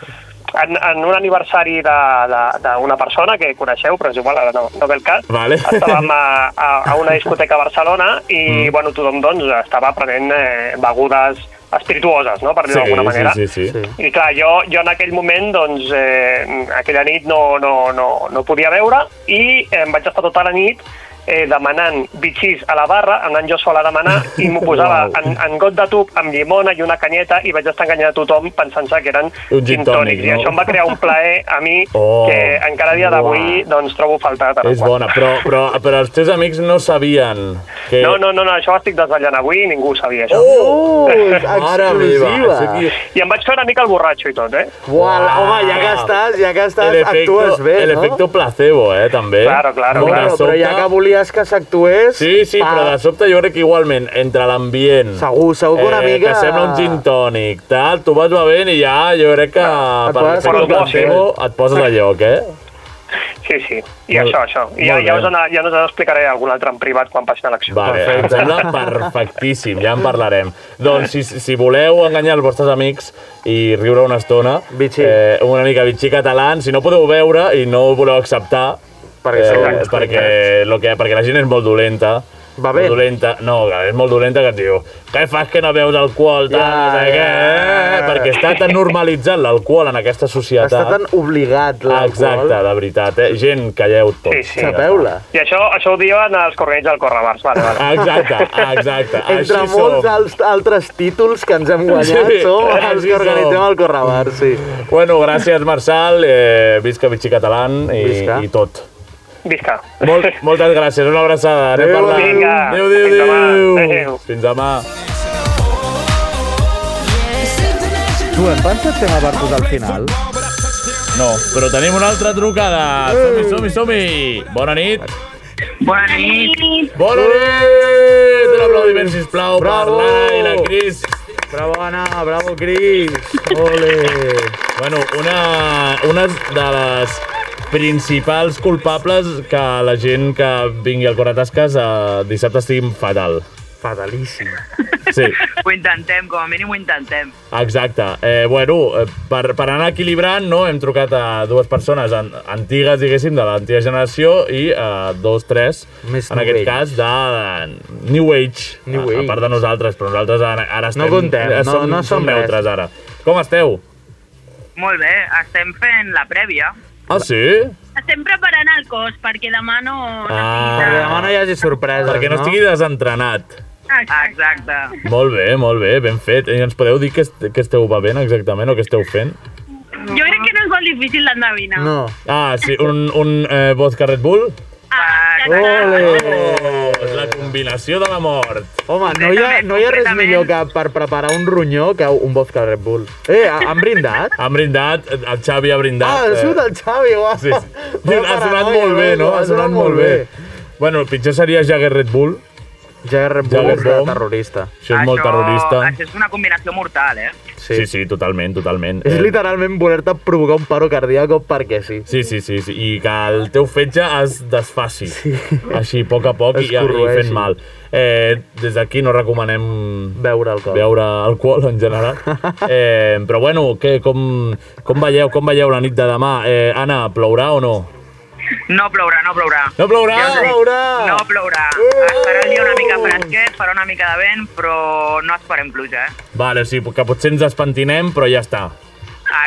En, en un aniversari de- de- d'una persona que coneixeu, però és igual, ara no, no ve el cas,
Vale.
estàvem a, a, a una discoteca a Barcelona i, mm. bueno, tothom, doncs, estava prenent eh, begudes espirituoses, no?, per dir-ho d'alguna manera.
sí, sí, sí.
I clar, jo, jo en aquell moment, doncs, eh, aquella nit no, no, no, no podia veure i em vaig estar tota la nit eh, demanant bitxís a la barra, anant jo sol a demanar, i m'ho posava
Uau.
en, en got de tub amb llimona i una canyeta i vaig estar enganyant a tothom pensant-se que eren
Un gin tònic,
I
no?
això em va crear un plaer a mi
Oh.
que encara a dia d'avui doncs, trobo faltat.
És bona, però, però, però els teus amics no sabien que...
No, no, no, no, això ho estic desvetllant avui i ningú ho sabia, això.
Oh! Mare meva, això aquí-
I em vaig fer una mica el borratxo i tot, eh?
Uau, home, ja que estàs, ja que estàs,
El efecto,
actues bé,
el
no?
efecto placebo, eh, també.
Claro, claro,
Molt
Bueno,
de
però ja
sobte-
que volies que s'actués...
Sí, sí,
pa.
però de sobte jo crec que igualment, entre l'ambient...
Ah. Segur, segur que una mica-
Eh, Que sembla un gin tònic, tal, tu vas bevent i ja jo crec que... Et
poses
per
al
l'efecte placebo et poses a lloc, eh?
Sí, sí. I
Molt-
això, això. I ja,
molt
ja,
bé.
us, anar, ja us explicaré algun altre en privat quan passin eleccions.
Vale, em sembla perfectíssim, ja en parlarem. Doncs si, si voleu enganyar els vostres amics i riure una estona, bitxí. Eh, una mica bitxí català, si no podeu veure i no ho voleu acceptar, eh, perquè,
sou uns
perquè, lo que, perquè la gent és molt dolenta, Va bé. Dolenta. No, és molt dolenta que et diu què fas que no veus alcohol, tal,
Ja,
no sé
ja,
què,
ja, ja.
perquè està tan normalitzat l'alcohol en aquesta societat.
Està tan obligat l'alcohol.
Exacte, de veritat, eh? Gent, calleu tots.
Sí, sí. Sapeu-la.
I això, això ho diuen els corrents del Correbars. Vale,
Ah.
vale.
Exacte, exacte.
Entre
Així
molts
som.
als, altres títols que ens hem guanyat,
Sí,
som els
així
que organitzem
som.
el Correbar, sí.
Bueno, gràcies, Marçal. Eh, visca Vichy Catalán i,
Visca.
i tot.
Visca.
Molt, moltes gràcies, una abraçada. Anem
Adéu.
parlant.
Vinga,
Adéu, adéu,
fins demà.
adéu.
Adéu.
Fins demà.
Tu, et van ser tema per posar al final?
No, però tenim una altra trucada. Som-hi, som-hi, som-hi. Bona nit.
Bona nit.
Bona nit. Un aplaudiment, sisplau,
Bravo.
per l'Aina Cris.
Bravo, Anna, bravo, Cris.
Ole. Bueno, una, una de les principals culpables que la gent que vingui al Coratasques eh, dissabte estiguin fatal.
Fatalíssim.
Sí,
Ho intentem, com a mínim ho intentem.
exacte. Eh, bueno, eh, per, per anar equilibrant, no, hem trucat a dues persones an antigues, diguéssim, de l'antiga generació i eh, dos, tres,
Més
en aquest cas,
novells.
de New Age,
New
a, a part de
Age.
nosaltres, però nosaltres ara, ara
No
estem...
contem,
eh,
no-
som,
no som
som
res.
neutres ara. Com esteu?
Molt bé, estem fent la prèvia.
Ah, sí?
Estem preparant el cos perquè demà no...
Ah,
Perquè demà no hi hagi sorpreses,
Perquè no,
no?
estigui desentrenat.
Exacte.
Molt bé, molt bé, ben fet. I ens podeu dir què, est què esteu bevent exactament o què esteu fent?
Jo crec que no és molt difícil d'endevinar.
Ah, sí, un, un eh, vodka Red Bull? Oh, és la combinació de la mort.
Home, no hi, ha, no hi ha res millor que per preparar un ronyó que un vodka Red Bull. Eh, ha- han brindat?
Han brindat, el Xavi ha brindat.
Ah, ha
eh,
sigut el Xavi, guau.
Sí, sí.
Bona
Ha sonat
paranoia,
molt bé, no? Ha sonat molt bé. Bueno, el pitjor seria Jagger Red Bull.
Jagger Red
Jagger
Bull és de
Bomb.
terrorista.
Això és molt terrorista.
Això és una combinació mortal, eh?
Sí, sí, sí totalment, totalment.
És
Eh,
literalment voler-te provocar un paro cardíac perquè sí.
Sí, sí, sí, sí, i que el teu fetge es desfaci, sí. així, a poc a poc, i,
Es
i
corroeixi.
fent mal. Eh, des d'aquí no recomanem
beure alcohol,
beure alcohol en general. Eh, però bueno, què, com, com veieu com veieu la nit de demà? Eh, Anna, plourà o no?
No plourà, no plourà.
No plourà?
Ja us dic,
No plourà.
No plourà.
Uh.
Es farà el dia una mica fresquet, farà una mica de vent, però no esperem pluja, eh?
Vale, sí, que potser ens despentinem, però ja està.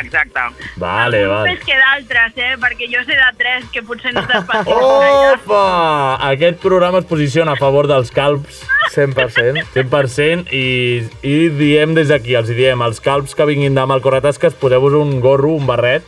Exacte.
Vale, vale.
Més que d'altres, eh? Perquè jo sé de tres que potser no estàs pensant.
Opa! Aquest programa es posiciona a favor dels calbs.
100%.
100% i, i diem des d'aquí, els hi diem, als calbs que vinguin demà al Corretasques, poseu-vos un gorro, un barret.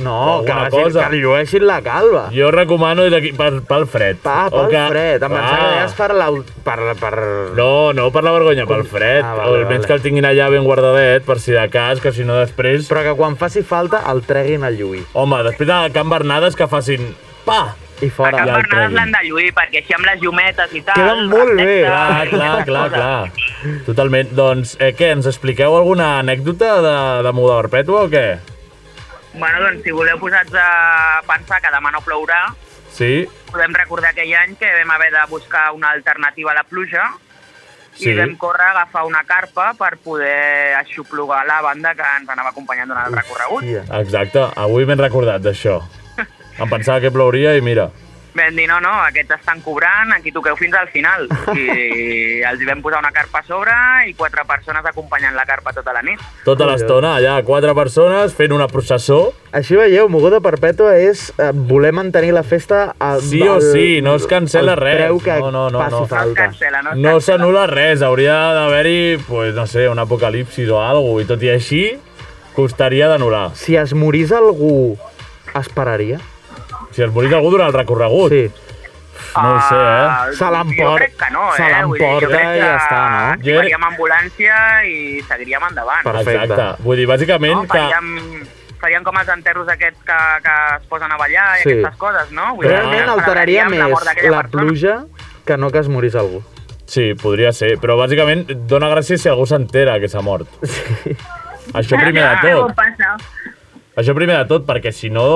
No, que, vagin, que llueixin la calva.
Jo recomano des d'aquí pel, pel fred.
Pa, pel
O Ah.
que... fred. Em pensava que deies per la... Per, per...
No, no per la vergonya, pel fred. Ah,
Ah, vale,
vale, Almenys
vale.
vale. que el tinguin allà ben guardadet, per si de cas, que si no després...
Però que quan faci falta el treguin al lluir.
Home, després de Can Bernades que facin... Pa!
I fora.
Cap Bernades l'han de lluir, perquè així amb les llumetes i tal...
Queden molt bé. Clar,
i
clar,
aquestes
clar,
coses.
clar. Totalment. Doncs, eh, què, ens expliqueu alguna anècdota de, de Muda Perpètua o què?
Bueno, doncs, si voleu posats a pensar que demà no plourà,
Sí?
podem recordar aquell any que vam haver de buscar una alternativa a la pluja
Sí.
i vam córrer a agafar una carpa per poder aixoplugar la banda que ens anava acompanyant durant el recorregut.
Exacte, avui m'he recordat d'això. Em pensava que plouria i mira.
Vam dir, no, no, aquests estan cobrant, aquí toqueu fins al final. I els hi vam posar una carpa a sobre i quatre persones acompanyant la carpa tota la nit.
Tota l'estona, allà, quatre persones fent una processó.
Així veieu, Mogoda Perpètua és eh, voler mantenir la festa al,
Sí o
al-
sí, no es cancela
al
res.
preu que
No, no, no,
faci
no.
falta.
No s'anul·la res, hauria d'haver-hi, pues, no sé, un apocalipsis o alguna cosa, i tot i així, costaria d'anul·lar.
Si es morís algú, es pararia?
Si es morís algú durant el recorregut.
Sí.
No ho sé, eh?
Se
Ah, Jo
l'emporta.
crec que no,
se
eh?
l'emporta i ja està, no?
Jo crec-
Faríem ambulància i seguiríem endavant.
Exacte. Vull dir, bàsicament,
No,
que...
faríem, faríem com els enterros aquests que, que es posen a ballar i
Sí.
aquestes coses, no? Vull dir,
Realment
que
alteraria
celebraríem
més
mort d'aquella
la
persona.
pluja que no que es morís algú.
Sí, podria ser, però bàsicament dona gràcies si algú s'entera que s'ha mort. Això primer
Ah,
de tot.
passa.
Això primer de tot, perquè si no...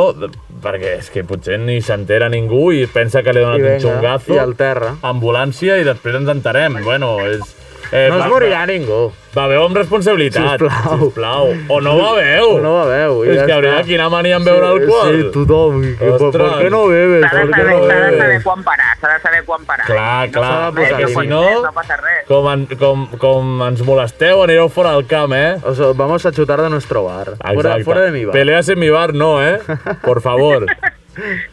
Perquè és que potser ni s'entera ningú i pensa que li ha donat
I
un
vinga,
xungazo.
i al terra.
Ambulància i després ens enterem. Bueno, és... Eh,
No es
va-
morirà
va-
ningú.
Va, veu amb responsabilitat.
Sisplau.
Sisplau. O no beveu.
O no beveu, i
És
ja
que hauria
està.
de quina mania en beure
Sí,
alcohol.
sí, tothom. Que, per, per què no bebes?
S'ha de
Per què
saber,
no
s'ha de saber
bebes?
quan parar, s'ha de saber quan parar.
Clar, clar.
No, s'ha de
perquè
posar
si no,
límits, no passa res.
com, en, com, com ens molesteu, anireu fora del camp, eh? O sea, vamos a chutar de nuestro bar.
Fuera- fuera de mi bar.
Peleas en mi bar no, eh? Por favor.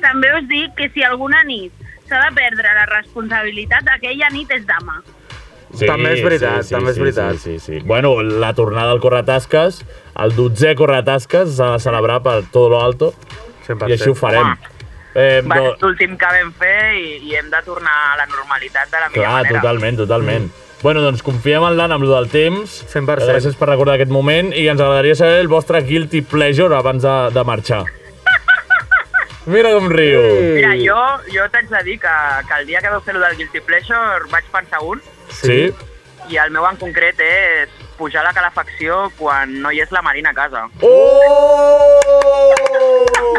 També us dic que si alguna nit s'ha de perdre la responsabilitat, aquella nit és dama.
També és veritat, també és veritat.
Sí, sí, sí. Bueno, la tornada al Corretasques, el 12è Corretasques s'ha de celebrar per tot lo alto. I així ho farem.
Home.
Eh,
Va ser
no,
l'últim que vam fer i, i hem de tornar a la normalitat de la millor
clar,
manera.
totalment, totalment. Bueno, doncs confiem en l'Anna amb lo del temps. 100%. Gràcies per recordar aquest moment i ens agradaria saber el vostre guilty pleasure abans de, de marxar. Mira com riu.
Mira, jo, jo t'haig de dir que, que el dia que vau fer el del Guilty Pleasure vaig pensar un,
Sí?
i el meu en concret és pujar la calefacció quan no hi és la Marina a casa.
Oh,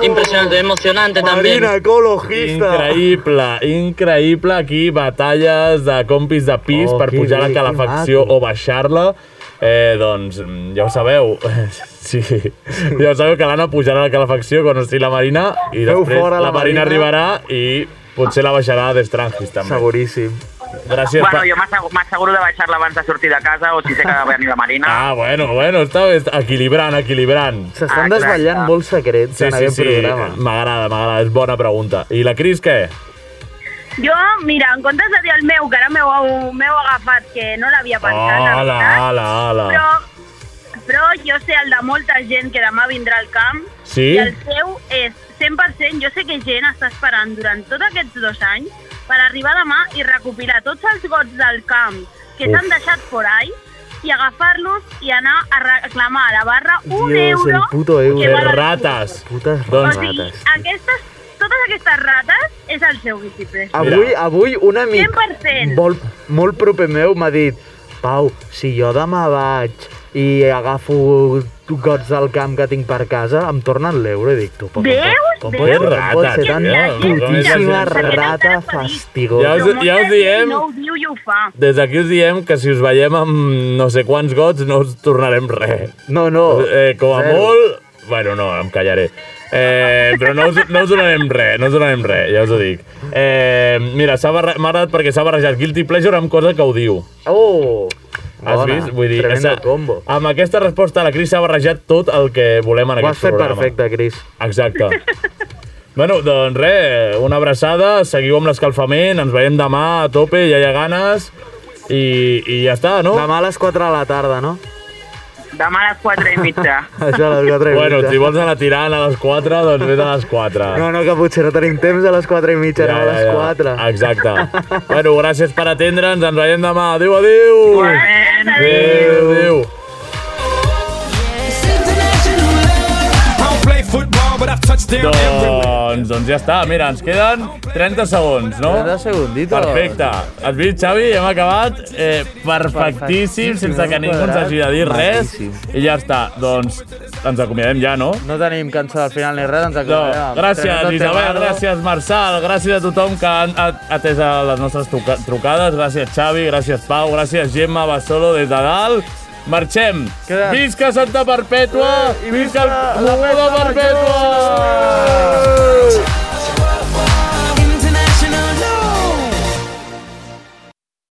Impresionante, emocionante también.
ecologista. Increïble, increïble. Aquí batalles de compis de pis
Oh,
per
que
pujar la
bé, que
calefacció
maco.
o baixar-la. Eh, doncs, mm, ja ho sabeu. Sí, ja ho sabeu que l'Anna pujarà la calefacció quan estigui la Marina i
Feu
després
fora
la,
la
Marina
Marina.
arribarà i potser la baixarà d'estrangis també. Seguríssim. Gràcies.
bueno,
per-
jo m'asseguro- m'asseguro de baixar-la abans de sortir de casa o si sé que va venir la Marina.
Ah, bueno, bueno, està bé, està equilibrant, equilibrant.
S'estan Ah, clar, desvetllant clar.
molts secrets
en aquest programa.
M'agrada, m'agrada, és bona pregunta. I la Cris, què?
Jo, mira, en comptes de dir el meu, que ara m'heu m'heu agafat, que no l'havia pensat, la
Hola,
veritat,
hola, hola.
Però, però jo sé el de molta gent que demà vindrà al camp
Sí?
i el seu és 100%. Jo sé que gent està esperant durant tots aquests dos anys per arribar demà i recopilar tots els gots del camp que
Uf.
s'han deixat por ahí i agafar-los i anar a reclamar a la barra un euro. que
De
val el
rates. Putes
o sigui, aquestes, totes aquestes rates és el seu visible.
Avui, avui un amic
100%.
molt, molt proper meu m'ha dit Pau, si jo demà vaig i agafo gots del camp que tinc per casa, em tornen l'euro i dic tu... però
Veus?
Com,
Veus?
pot, com pot ser tan
Quina gent,
putíssima
mira, mira,
rata fastigosa?
Ja us-
Però
ja us
molta gent
diem.
No ho diu i ho fa.
Des d'aquí us diem que si us veiem amb no sé quants gots no us tornarem res. No, no. Eh, com a
Zero.
molt... Bueno, no, em callaré. Eh, però no us, no us donarem res, no us donarem res, ja us ho dic. Eh, mira, s'ha barre- m'ha agradat perquè s'ha barrejat Guilty Pleasure amb cosa que ho diu.
Oh!
Has
Bona,
vist? Vull dir,
tremendo
esa- amb aquesta resposta la Cris s'ha barrejat tot el que volem en
Ho has
aquest
fet
programa.
perfecte,
Cris. Exacte. bueno, doncs res, una abraçada, seguiu amb l'escalfament, ens veiem demà a tope, ja hi ha ganes, i, i ja està, no? Demà a les 4 de la tarda, no?
Demà a les 4 i mitja.
Això a les 4 i
Bueno,
mitja.
si vols anar tirant a les 4, doncs vés a les 4.
No, no, que potser no tenim temps a les 4 i mitja, ja, no a les 4.
Exacte. bueno, gràcies per atendre'ns, ens veiem demà. Adéu, adéu! Adéu, adéu!
don't play football, but I've touched down everywhere.
Doncs, doncs ja està, mira, ens queden 30 segons, no?
30
segunditos. Perfecte. Has vist, Xavi? Hem acabat eh, perfectíssim,
Perfectíssim,
sense que
hem
ningú ens
quadrat
hagi de dir res.
maquíssim.
I ja està, doncs ens acomiadem ja, no?
No tenim cançó al final ni res, ens acomiadem.
No,
amb
gràcies,
Tremendo
Isabel,
Temazo.
gràcies, Marçal, gràcies a tothom que han at- atès a les nostres truca- trucades. Gràcies, Xavi, gràcies, Pau, gràcies, Gemma Basolo, des de dalt. Marxem.
Quedem.
Visca Santa Perpètua!
Eh,
i visca el Comú de Perpètua!